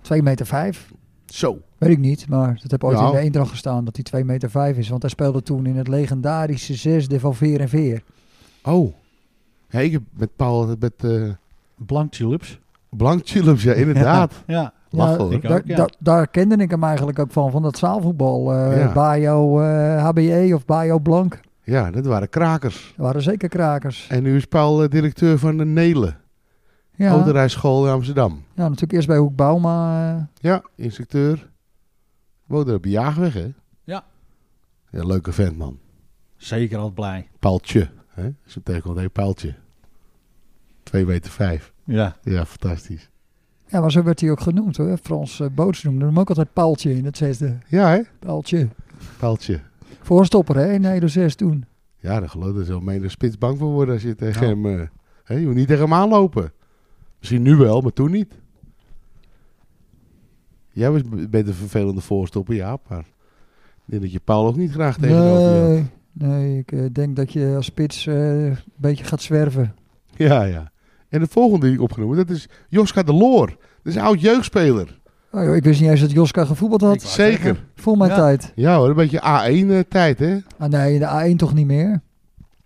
2 meter 5. Zo. Weet ik niet, maar dat heb ooit Nou. in de Eendracht gestaan dat hij 2 meter 5 is. Want hij speelde toen in het legendarische zesde van Veer en Veer. Oh. Ja, ik heb met Paul altijd met eh Blank tulips. blank tulips, ja, inderdaad. Ja. Lachen, hoor. ik daar, ook, ja. daar- daar kende ik hem eigenlijk ook van, van dat zaalvoetbal. eh Ja. Bayo eh, HBE of Bayo Blank. Ja, dat waren krakers. Dat waren zeker krakers. En nu is Paul eh, directeur van de Nelen. Ja, Oh, Ouderijschool in Amsterdam. ja natuurlijk eerst bij Hoek Bauma. eh, Ja, instructeur. Woonde op de Jaagweg, hè? Ja. Ja, leuke vent, man. Zeker altijd blij. Paaltje. Hè? Als je hem tegenkomt, hé, Paaltje. 2 meter 5. Ja. Ja, fantastisch. ja, maar zo werd hij ook genoemd hoor. Frans eh, Boots noemde hem ook altijd Paaltje in het zesde. Ja, hè? Paaltje. Paaltje. Voorstopper hè, in Edo 6 toen. Ja, dat geloof ik. Daar mede spits bang voor worden als je tegen Ja. hem... eh, hè, je moet niet tegen hem aanlopen. Misschien nu wel, maar toen niet. Jij was, bent een vervelende voorstopper, ja, maar... Ik denk dat je Paul ook niet graag tegenover je had. Nee, Nee, ik eh, denk dat je als spits eh, een beetje gaat zwerven. Ja, ja. En de volgende die ik opgenomen heb, dat is Joska de Loor. Dat is een oud jeugdspeler. Oh, joh, ik wist niet eens dat Joska gevoetbald had. Ik wou Zeker. Voor mijn Ja. tijd. Ja hoor, een beetje A1-tijd hè. Ah nee, de A1 toch niet meer.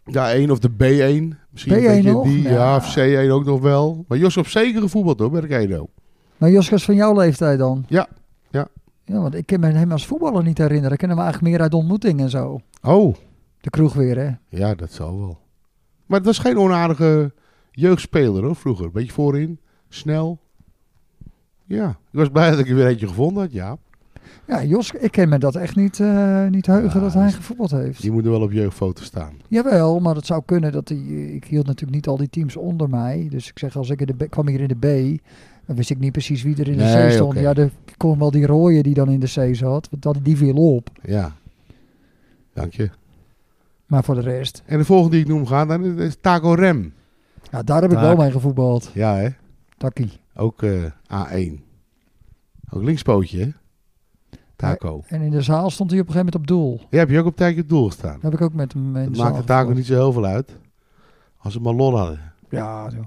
Ja, 1 of de B1. Misschien B1 een beetje nog? die, ja. Ja. of C1 ook nog wel. Maar Jos op zeker gevoetbald hoor, bij de Kedo. Maar Joska Nou, is van jouw leeftijd dan? Ja, ja. Ja, want ik kan me hem als voetballer niet herinneren. Ik ken hem eigenlijk meer uit ontmoetingen en zo. Oh, De kroeg weer, hè? ja, dat zal wel. Maar het was geen onaardige jeugdspeler hoor, vroeger. Beetje voorin, snel. Ja, ik was blij dat ik er weer eentje gevonden had, ja. Ja, Joska, ik ken me dat echt niet, eh, niet heugen Ja, dat hij dus- gevoetbald heeft. Die moet er wel op jeugdfoto staan. Jawel, maar het zou kunnen dat hij... eh, Ik hield natuurlijk niet al die teams onder mij. Dus ik zeg, als ik in de B, kwam hier in de B... dan wist ik niet precies wie er in de Nee, C stond. oké. Ja, er kon wel die rooie die dan in de C zat. Want dat, die viel op. Ja. Dank je. Maar voor de rest... En de volgende die ik noem ga, dan is Taco Rem. Ja, daar heb ik Taak. wel mee gevoetbald. Ja hè, Takkie. ook eh, A1. Ook linkspootje hè. Taco. En in de zaal stond hij op een gegeven moment op doel. Ja, heb je ook op tijdje op doel gestaan? Daar heb ik ook met hem in Dat de maakt zaal de taco gevoetbald. niet zo heel veel uit. Als ze maar lol hadden. Ja, joh.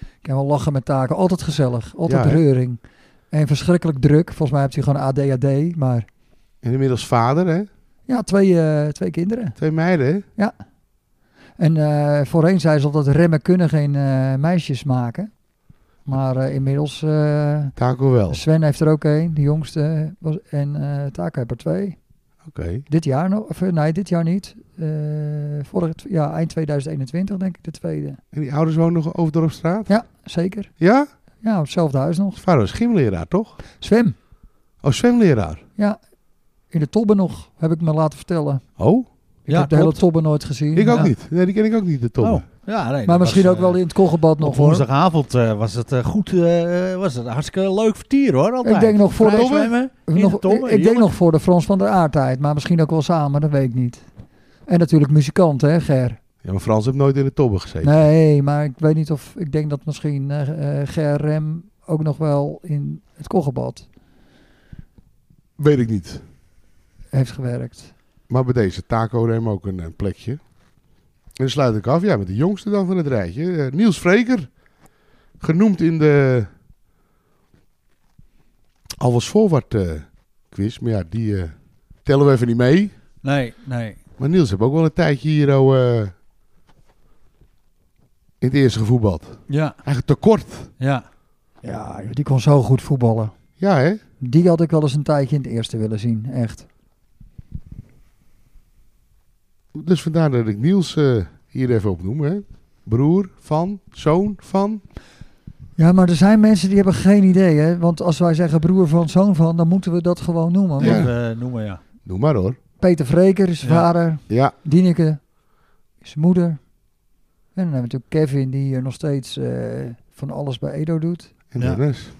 Ik kan wel lachen met taken. Altijd gezellig. Altijd Ja, hè? reuring. En verschrikkelijk druk. Volgens mij heeft hij gewoon ADHD. Maar En inmiddels vader, hè? ja, twee, eh, twee kinderen. Twee meiden, hè? En eh, voorheen zei ze altijd, remmen kunnen geen eh, meisjes maken. Maar eh, inmiddels, eh, Taco wel. Oké. Sven heeft er ook één, de jongste. Was, en eh Taken heeft er twee. Dit jaar nog, of eh, nee, dit jaar niet. Eh, vorig, ja, eind 2021 denk ik de tweede. En die ouders wonen nog over Dorpstraat? Ja, zeker. Ja? Ja, op hetzelfde huis nog. Ons vader was gymleraar, toch? Zwem. Oh, zwemleraar. Ja, in de tobben nog, heb ik me laten vertellen. Oh? Ik Ja, heb de hele klopt. tobben nooit gezien. Ik ook Ja. niet. Nee, die ken ik ook niet, de Tom. Oh, ja, nee, Maar dat misschien was, ook wel eh, in het kogelbad nog Op hoor. woensdagavond eh, was het eh, goed, eh, was het een hartstikke leuk vertier hoor. Altijd. Ik denk nog voor de- Vrij zwemmen, in de Nog, tombe, ik ik denk heerlijk. nog voor de Frans van der Aardtijd, maar misschien ook wel samen, dat weet ik niet. En natuurlijk muzikant, hè, Ger? Ja, maar Frans heeft nooit in de tobben gezeten. Nee, maar ik weet niet of. Ik denk dat misschien eh, eh, Ger Rem ook nog wel in het kogelbad Weet ik niet. heeft gewerkt. Maar bij deze Taco Rem ook een, een plekje. En dan sluit ik af, ja, met de jongste dan van het rijtje. Eh, Niels Vreker. Genoemd in de Alvast Voorwaard eh, quiz. Maar ja, die eh, tellen we even niet mee. Nee, nee. Maar Niels heeft ook wel een tijdje hier oh, eh, in het eerste gevoetbald. Ja, Eigenlijk tekort. ja. Ja, joh, die kon zo goed voetballen. Ja, hè? Die had ik wel eens een tijdje in het eerste willen zien, echt. Dus vandaar dat ik Niels eh, hier even opnoem, hè? Broer van, zoon van. Ja, maar er zijn mensen die hebben geen idee, hè? Want als wij zeggen broer van zoon van, dan moeten we dat gewoon noemen. Ja. Want Moet, eh, noemen, ja. Noem maar hoor. Peter Vreker is zijn Ja. vader, Ja, Dineke is zijn moeder. En dan hebben we natuurlijk Kevin, die hier nog steeds eh, van alles bij Edo doet. en Ja. Dennis.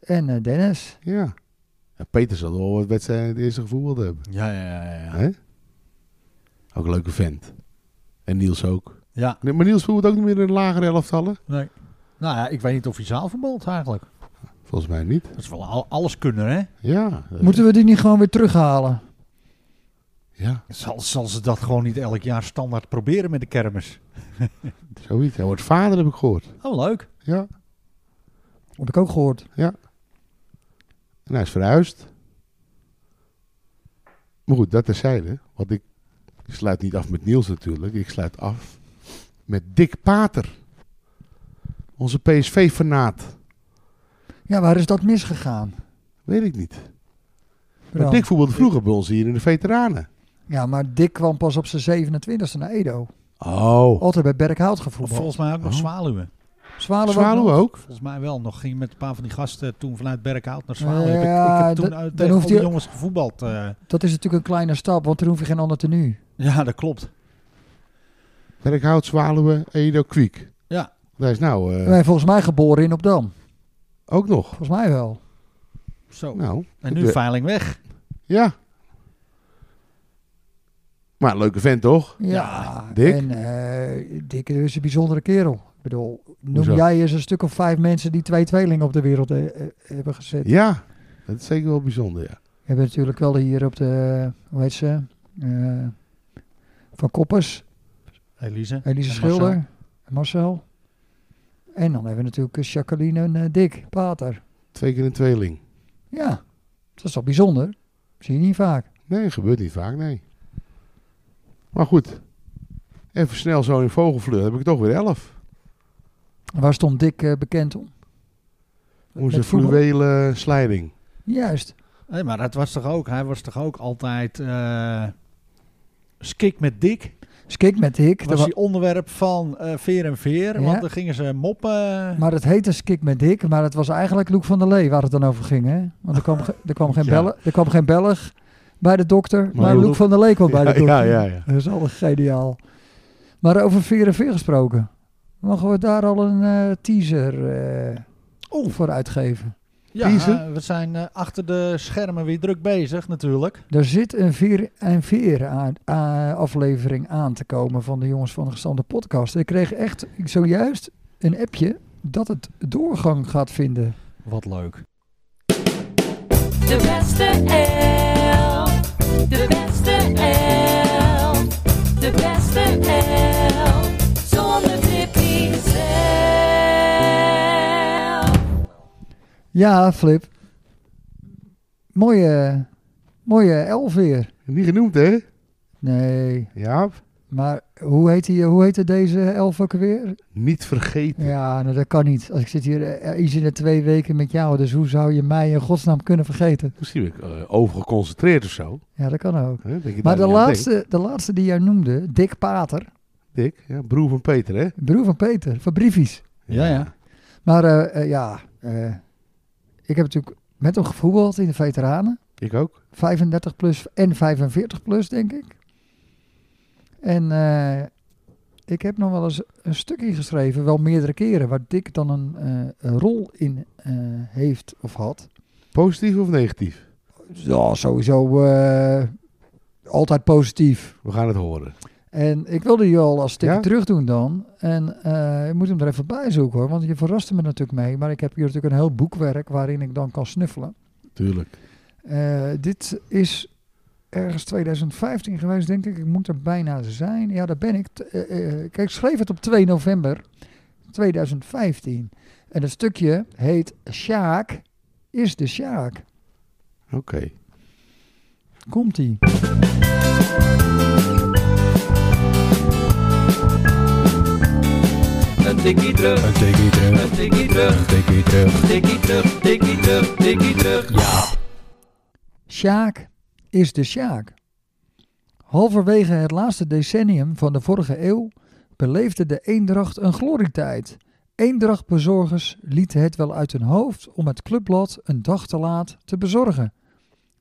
En eh, Dennis. Ja. ja Peter zal wel wat wedstrijden in het eerste gevoetbald hebben. Ja, ja, ja. Ja, Hè? Ook een leuke vent. En Niels ook. ja Nee, Maar Niels voetbalt ook niet meer in de lagere elftallen? nee. Nou ja, ik weet niet of hij zaalverbond eigenlijk. Volgens mij niet. Dat is wel al, alles kunnen, hè? Ja. eh, Moeten we die niet gewoon weer terughalen? Ja, Zal, zal ze dat gewoon niet elk jaar standaard proberen met de kermis? zoiets. Hij wordt vader, heb ik gehoord. Oh, leuk. Ja. Heb ik ook gehoord. En hij is verhuisd. Maar goed, dat terzijde. Want ik sluit niet af met Niels natuurlijk. Ik sluit af met Dick Pater. Onze PSV-fanaat. Ja, waar is dat misgegaan? Weet ik niet. Maar Dan? Dick voetbalde vroeger bij ons hier in de veteranen. Ja, maar Dick kwam pas op zijn 27e naar Edo. Oh. Altijd bij Berkhout Of gevoetbald. volgens mij ook nog Oh. Zwaluwen. Zwaluwe ook Zwaluwe nog? ook? Volgens mij wel. Nog ging met een paar van die gasten toen vanuit Berkhout naar Zwaluwen. Ik- ik, Ja, heb toen dat- uit, dan tegen hoeft al die hij- jongens gevoetbald. eh. Dat is natuurlijk een kleine stap, want er hoef je geen ander tenue. Ja, dat klopt. Berkhout, Zwaluwe, Edo, Kwiek. Ja. Hij is nou eh, Wij zijn volgens mij geboren in Opdam. ook nog. Volgens mij wel. Zo. Nou, en dat- nu veiling weg. ja. Maar leuke vent toch? Ja, Dick? En eh, Dick is een bijzondere kerel. Ik bedoel, noem Hoezo? jij eens een stuk of vijf mensen die twee tweelingen op de wereld eh, eh, hebben gezet. Ja. Dat is zeker wel bijzonder, ja. We hebben natuurlijk wel hier op de, hoe heet ze? Eh, van Koppers, Elise. Elise En Schilder Marcel. en Marcel. En dan hebben we natuurlijk eh, Jacqueline en eh, Dick Pater. Twee keer een tweeling. Ja, dat is toch bijzonder? Zie je niet vaak. Nee, gebeurt niet vaak, nee. Maar goed. Even snel zo in vogelvlucht heb ik toch weer elf. En Waar stond Dick eh, bekend om? Onze Met voetbal? fluwelen eh, slijding. Juist. Nee, maar dat was toch ook, hij was toch ook altijd eh skik met dik. Skik Dus met Dick. was die onderwerp van eh, veer en veer, Ja. want dan gingen ze moppen. Maar het heette Skik met Dick, maar het was eigenlijk Loek van der Lee waar het dan over ging. Hè? Want er kwam, ge- er kwam, geen, Ja. Belle- er kwam geen Belg bij de dokter, maar, Maar Loek, Loek- van der Lee kwam bij de Ja, dokter. ja, ja, ja. Dat is altijd geniaal. Maar over veer en veer gesproken. Mogen we daar al een eh, teaser eh Oeh. voor uitgeven? ja, Piezen? we zijn eh, achter de schermen weer druk bezig natuurlijk. Er zit een veer en veer aan- a- aflevering aan te komen van de jongens van de gestande podcast. Ik kreeg echt zojuist een appje dat het doorgang gaat vinden. Wat leuk. De beste elf. De beste elf. De beste elf. Zonder Tippy zelf. Ja, Flip. Mooie, mooie elf weer. Niet genoemd, hè? Nee, Ja. maar hoe heet, die, hoe heette deze elf ook weer? Niet vergeten. Ja, nou, dat kan niet. Als ik zit hier eh, iets in de twee weken met jou, dus hoe zou je mij in godsnaam kunnen vergeten? Misschien ben ik eh, overgeconcentreerd of zo. Ja, dat kan ook. Hè? Denk je Maar daar de niet aan laatste, de laatste die jij noemde, Dick Pater, denkt? Dick, ja, broer van Peter, hè? broer van Peter, van Briefies. Ja, ja. Maar eh, eh, ja, eh, ik heb natuurlijk met hem gevoetbald in de veteranen. Ik ook. 35 plus en 45 plus, denk ik. En eh, ik heb nog wel eens een stukje geschreven, wel meerdere keren, waar Dick dan een, eh, een rol in eh, heeft of had. Positief of negatief? Ja, sowieso eh, altijd positief. We gaan het horen. En ik wilde je al als stukje Ja? terug doen dan. En eh, ik moet hem er even bij zoeken hoor, want je verraste me natuurlijk mee. Maar ik heb hier natuurlijk een heel boekwerk waarin ik dan kan snuffelen. Tuurlijk. Eh, dit is ergens 2015 geweest, denk ik. Ik moet er bijna zijn. Ja, daar ben ik. T- eh, eh, kijk, ik schreef het op 2 november 2015. En het stukje heet Sjaak is de Sjaak. Oké. Komt-ie. Een tikkie terug, Een tikkie terug, een tikkie terug, een tikkie terug. tikkie terug, tikkie terug, tikkie terug. Sjaak is de Sjaak. Halverwege het laatste decennium van de vorige eeuw beleefde de Eendracht een glorietijd. Eendrachtbezorgers lieten het wel uit hun hoofd om het clubblad een dag te laat te bezorgen.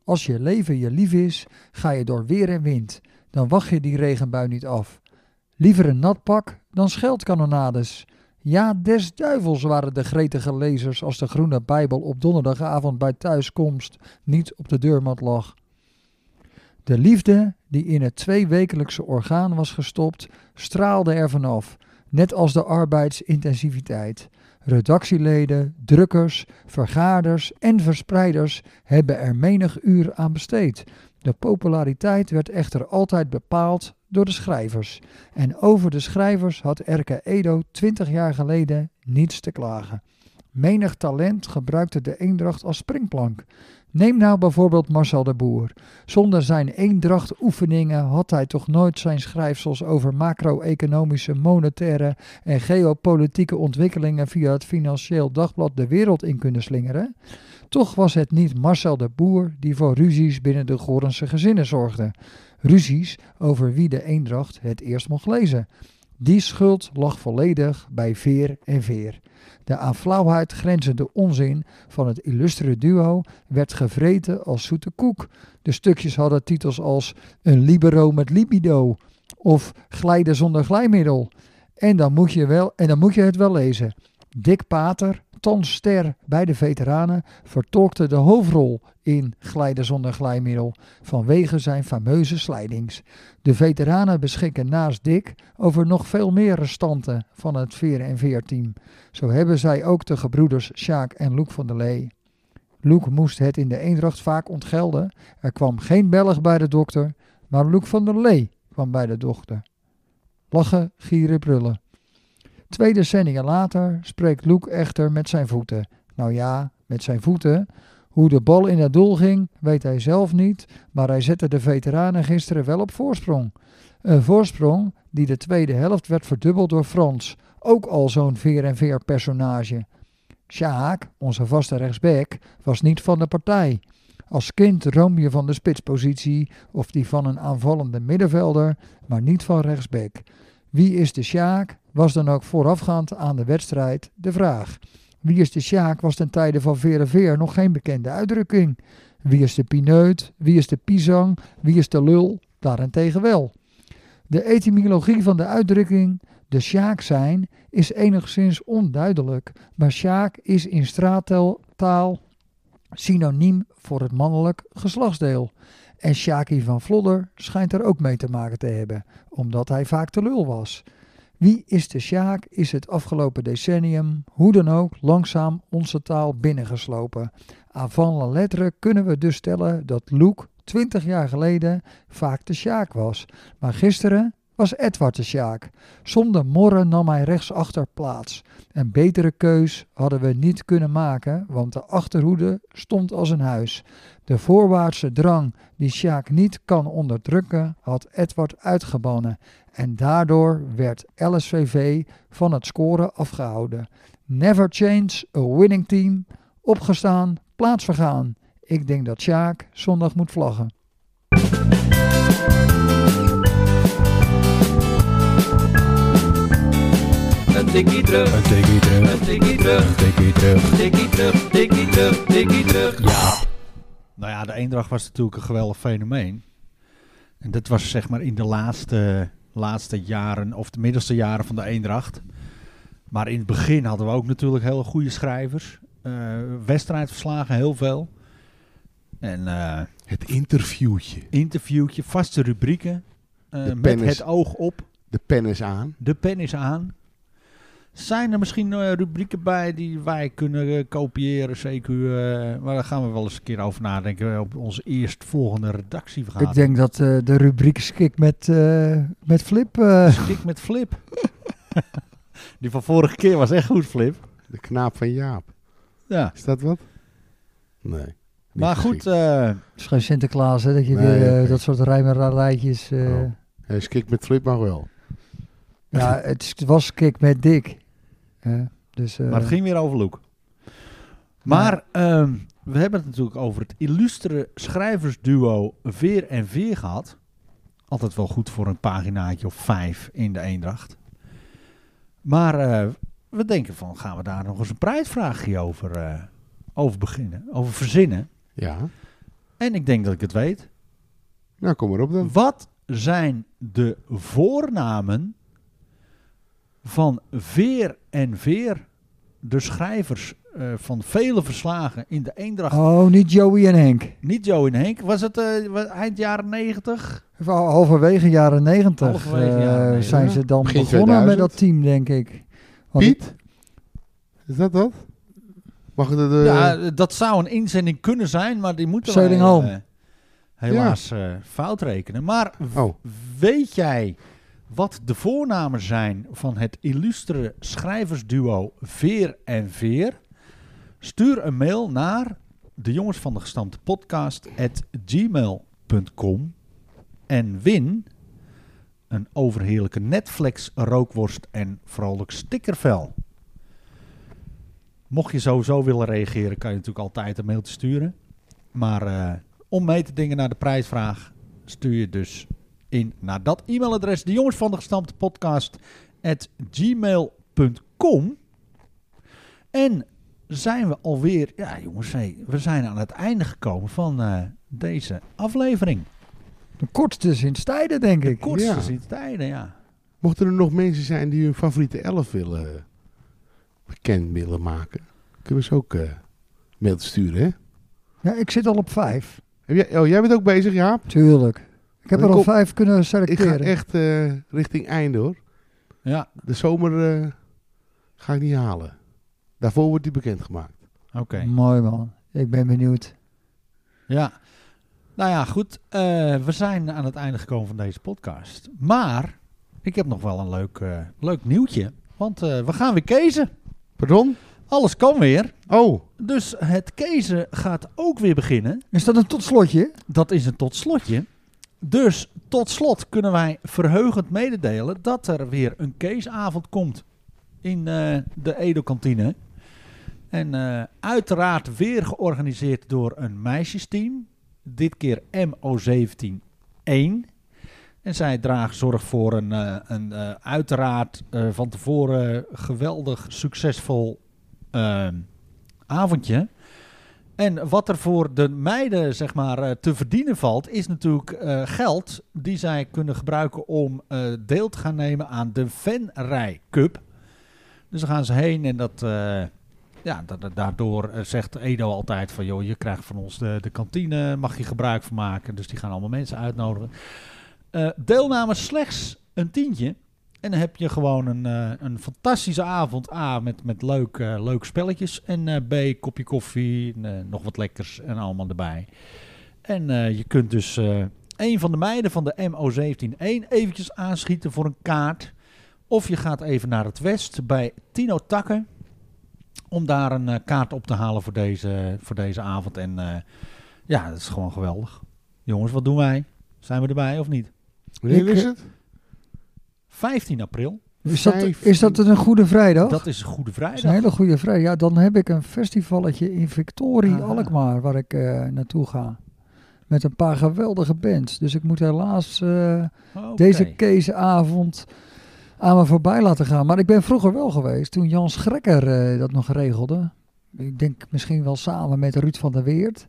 Als je leven je lief is, ga je door weer en wind. Dan wacht je die regenbui niet af. Liever een nat pak dan scheldkanonades. Ja, des duivels waren de gretige lezers als de groene Bijbel op donderdagavond bij thuiskomst niet op de deurmat lag. De liefde die in het tweewekelijkse orgaan was gestopt, straalde er vanaf, net als de arbeidsintensiviteit. Redactieleden, drukkers, vergaders en verspreiders hebben er menig uur aan besteed. De populariteit werd echter altijd bepaald door de schrijvers. En over de schrijvers had Erke Edo twintig jaar geleden niets te klagen. Menig talent gebruikte de eendracht als springplank. Neem nou bijvoorbeeld Marcel de Boer. Zonder zijn eendrachtoefeningen had hij toch nooit zijn schrijfsels over macro-economische, monetaire en geopolitieke ontwikkelingen via het Financieel Dagblad de wereld in kunnen slingeren. Toch was het niet Marcel de Boer die voor ruzies binnen de Gorense gezinnen zorgde. Ruzies over wie de eendracht het eerst mocht lezen. Die schuld lag volledig bij Veer en Veer. De aan flauwheid grenzende onzin van het illustere duo werd gevreten als zoete koek. De stukjes hadden titels als Een libero met libido of Glijden zonder glijmiddel. En dan moet je, wel, en dan moet je het wel lezen. Dick Pater, thans ster bij de veteranen, vertolkte de hoofdrol in Glijden zonder glijmiddel vanwege zijn fameuze slijdings. De veteranen beschikken naast Dick over nog veel meer restanten van het veer en veerteam. Zo hebben zij ook de gebroeders Sjaak en Loek van der Lee. Loek moest het in de eendracht vaak ontgelden. Er kwam geen Belg bij de dokter, maar Loek van der Lee kwam bij de dochter. Lachen, gieren, brullen. Twee decennia later spreekt Luke echter met zijn voeten. Nou ja, met zijn voeten. Hoe de bal in het doel ging, weet hij zelf niet, maar hij zette de veteranen gisteren wel op voorsprong. Een voorsprong die de tweede helft werd verdubbeld door Frans, ook al zo'n veer en veer personage. Sjaak, onze vaste rechtsback, was niet van de partij. Als kind room je van de spitspositie of die van een aanvallende middenvelder, maar niet van rechtsback. Wie is de Sjaak? was dan ook voorafgaand aan de wedstrijd de vraag. Wie is de Sjaak was ten tijde van Veer nog geen bekende uitdrukking. Wie is de pineut? Wie is de pisang? Wie is de lul? Daarentegen wel. De etymologie van de uitdrukking de Sjaak zijn is enigszins onduidelijk, maar Sjaak is in straattaal synoniem voor het mannelijk geslachtsdeel. En Sjaki van Vlodder schijnt er ook mee te maken te hebben, omdat hij vaak te lul was. Wie is de Sjaak is het afgelopen decennium, hoe dan ook, langzaam onze taal binnengeslopen. Avant la lettre kunnen we dus stellen dat Luke 20 jaar geleden vaak de Sjaak was. Maar gisteren was Edward de Sjaak. Zonder morren nam hij rechtsachter plaats. Een betere keus hadden we niet kunnen maken, want de achterhoede stond als een huis. De voorwaartse drang die Sjaak niet kan onderdrukken, had Edward uitgebannen. En daardoor werd LSVV van het scoren afgehouden. Never change a winning team. Opgestaan, plaats vergaan. Ik denk dat Sjaak zondag moet vlaggen. Een tikkie terug, Een tikkie terug, een tikkie terug, een tikkie terug. tikkie terug, tikkie terug, tikkie terug. Nou ja, de Eendracht was natuurlijk een geweldig fenomeen. En dat was zeg maar in de laatste, laatste jaren, of de middelste jaren van de Eendracht. Maar in het begin hadden we ook natuurlijk hele goede schrijvers. Eh wedstrijdverslagen, heel veel. En eh Het interviewtje. interviewtje, vaste rubrieken. eh, De met pen is- het oog op, De pen is aan. de pen is aan. Zijn er misschien eh, rubrieken bij die wij kunnen eh, kopiëren, CQ? eh, maar daar gaan we wel eens een keer over nadenken eh, op onze eerstvolgende Ik redactievergadering. denk dat eh, de rubriek Skik met, eh, met Flip eh, Kik met Flip. Die van vorige keer was echt goed, Flip. De knaap van Jaap. Ja. Is dat wat? Nee. Niet Maar goed, geschikt. eh, Het is geen Sinterklaas, hè, dat je Nee, weer eh, oké. dat soort rijmerijtjes... eh Oh. Hij is kick met flip, maar wel. Ja, het is- het was kick met dik. Hè, dus, eh, maar het ging weer over Loek. Maar ehm, we hebben het natuurlijk over het illustere schrijversduo Veer en Veer gehad. Altijd wel goed voor een paginaatje of vijf in de Eendracht. Maar eh, we denken van, gaan we daar nog eens een prijsvraagje over, eh, over beginnen? Over verzinnen? Ja. En ik denk dat ik het weet. Nou, kom maar op dan. Wat zijn de voornamen van Veer en Veer, de schrijvers eh, van vele verslagen in de Eendracht? Oh, niet Joey en Henk. Niet Joe en Henk, was het eh, wa- eind jaren negentig? Halverwege jaren negentig Halverwege jaren eh, 90. zijn ze dan Begin begonnen 2000. met dat team, denk ik. Want Piet? Is dat dat? Mag ik dat... eh, Ja, eh, dat zou een inzending kunnen zijn, maar die moeten wij Zeddingholm. eh, helaas eh, fout rekenen. Maar w- Oh. weet jij wat de voornamen zijn van het illustere schrijversduo Veer en Veer? Stuur een mail naar de jongens van de gestampte podcast at gmail.com en win een overheerlijke Netflix rookworst en vrolijk stickervel. Mocht je sowieso willen reageren, kan je natuurlijk altijd een mailtje sturen. Maar eh, om mee te dingen naar de prijsvraag, stuur je dus in naar dat e-mailadres, de jongens van de gestampte podcast, at gmail.com. En zijn we alweer, ja jongens, hey, we zijn aan het einde gekomen van eh, deze aflevering. de kortste sinds tijden, denk ik. Kort Ja. sinds tijden, ja. Mochten er nog mensen zijn die hun favoriete elf willen eh, bekend willen maken, kunnen ze ook eh mail sturen, hè? Ja, ik zit al op vijf. Heb jij, oh, jij bent ook bezig, Jaap? Tuurlijk. Ik heb Ik er al kom- vijf kunnen Ik ga selecteren. echt eh, richting einde, hoor. Ja, De zomer eh, ga ik niet halen. Daarvoor wordt Mm. die bekendgemaakt. oké. Mooi man. Ik ben benieuwd. Ja. Nou ja, goed. eh, we zijn aan het einde gekomen van deze podcast. Maar ik heb nog wel een leuk, eh, leuk nieuwtje. Want eh, we gaan weer kezen. Pardon? Alles kan weer. Oh, Dus het kezen gaat ook weer beginnen. Is dat een tot slotje? Dat is een tot slotje. Dus tot slot kunnen wij verheugend mededelen dat er weer een keesavond komt in eh, de Edo-kantine. En eh, uiteraard weer georganiseerd door een meisjesteam. Dit keer MO17-1. En zij draagt zorg voor een, eh, een eh, uiteraard eh, van tevoren geweldig succesvol eh, avondje. En wat er voor de meiden zeg maar, eh, te verdienen valt, is natuurlijk eh, geld die zij kunnen gebruiken om eh, deel te gaan nemen aan de Venrij Cup. Dus dan gaan ze heen en dat, eh, ja, da- da- daardoor eh, zegt Edo altijd van joh, je krijgt van ons de, de kantine, mag je gebruik van maken. Dus die gaan allemaal mensen uitnodigen. Eh, deelname slechts een tientje. En dan heb je gewoon een, eh, een fantastische avond. A, met, met leuk, eh, leuke spelletjes. En eh, B, kopje koffie, en, eh, nog wat lekkers en allemaal erbij. En eh, je kunt dus eh, een van de meiden van de MO171 eventjes aanschieten voor een kaart. Of je gaat even naar het west bij Tino Takken. Om daar een eh, kaart op te halen voor deze, voor deze avond. En eh, ja, dat is gewoon geweldig. Jongens, wat doen wij? Zijn we erbij of niet? wanneer Ik, is eh, het? 15 april. Is dat, Vijf- is dat een goede vrijdag? Dat is Goede Dat Vrijdag. is een hele goede vrijdag. Ja, dan heb ik een festivalletje in Victorie, Aha. Alkmaar, waar ik eh, naartoe ga. Met een paar geweldige bands. Dus ik moet helaas eh, Oké. deze keesavond aan me voorbij laten gaan. Maar ik ben vroeger wel geweest, toen Jan Schrekker eh, dat nog regelde. Ik denk misschien wel samen met Ruud van der Weert.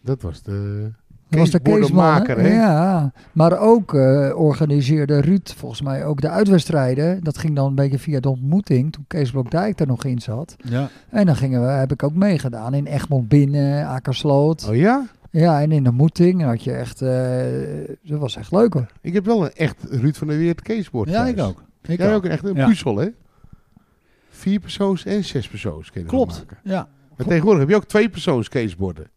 Dat was de... Dat was de Keesman. Keesbordenmaker, hè? hè? Ja, maar ook eh, organiseerde Ruud volgens mij ook de uitwedstrijden. Dat ging dan een beetje via de ontmoeting, toen Kees Blokdijk er nog in zat. Ja. En dan gingen we, heb ik ook meegedaan in Egmond binnen, Akersloot. Oh ja? Ja, en in de Moeting had je echt, eh, dat was echt leuk hoor. Ik heb wel een echt Ruud van der Weert caseboard ja, thuis. ik ook. Ik Jij ook. ook een echt een Ja. puzzel, hè? Vier persoons en zes persoons kun je ervan Klopt. maken. Ja. Maar tegenwoordig heb je ook twee persoons caseborden.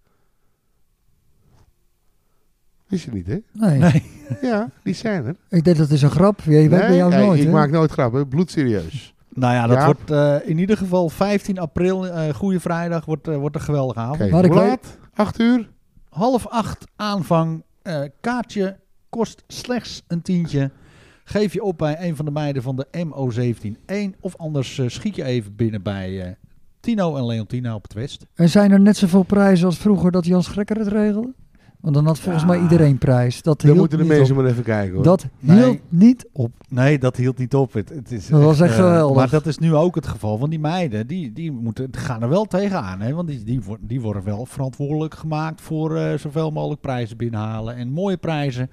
Wist je niet, hè? Nee, Nee. Ja, die zijn er. ik denk dat is een grap. Je weet bij jou hey, nooit. ik hè? maak nooit grappen, bloedserieus. Nou ja, dat Ja. wordt eh, in ieder geval 15 april, eh Goede Vrijdag, wordt, eh, wordt een geweldige avond. Oké, Maar ik hoe weet- laat? Acht uur? Half acht aanvang, eh, kaartje kost slechts een tientje. Geef je op bij een van de meiden van de MO171 of anders eh, schiet je even binnen bij eh, Tino en Leontina op het West. En zijn er net zoveel prijzen als vroeger dat Jan Schrekker het regelde? Want dan had volgens Ja. mij iedereen prijs. Dat Dan hield moeten de niet mensen op. maar even kijken, hoor. Dat Nee. hield niet op. Nee, dat hield niet op. Het, het is Dat was echt eh, geweldig. maar dat is nu ook het geval. Want die meiden, die, die moeten, die gaan er wel tegenaan. Hè? Want die, die, wo- die worden wel verantwoordelijk gemaakt voor eh, zoveel mogelijk prijzen binnenhalen. En mooie prijzen.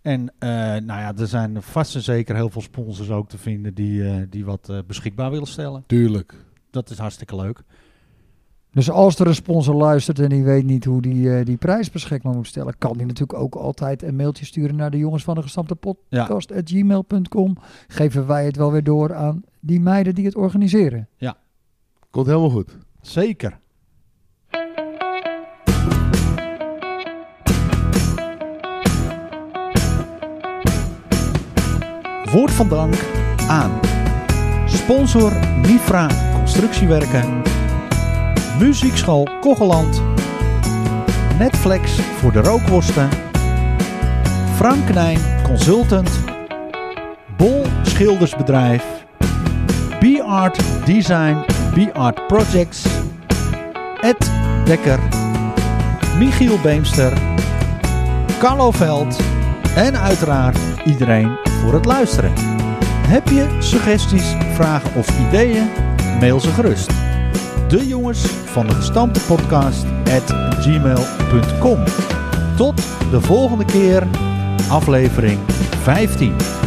En eh, nou ja, er zijn vast en zeker heel veel sponsors ook te vinden die, eh, die wat eh, beschikbaar willen stellen. Tuurlijk. Dat is hartstikke leuk. Dus als er een sponsor luistert en die weet niet hoe die, eh, die prijs beschikbaar moet stellen, kan die natuurlijk ook altijd een mailtje sturen naar de jongens van de gestampte podcast at gmail.com. Geven wij het wel weer door aan die meiden die het organiseren. Komt helemaal goed. Zeker. Woord van dank aan sponsor Mifra Constructiewerken, Muziekschool Kogeland, Netflix voor de rookworsten, Frank Knijn Consultant, Bol Schildersbedrijf, B-Art Design, B-Art Projects, Ed Dekker, Michiel Beemster, Carlo Veld en uiteraard iedereen voor het luisteren. Heb je suggesties, vragen of ideeën? Mail ze gerust. De jongens van de gestampte podcast at gmail.com. Tot de volgende keer, aflevering 15.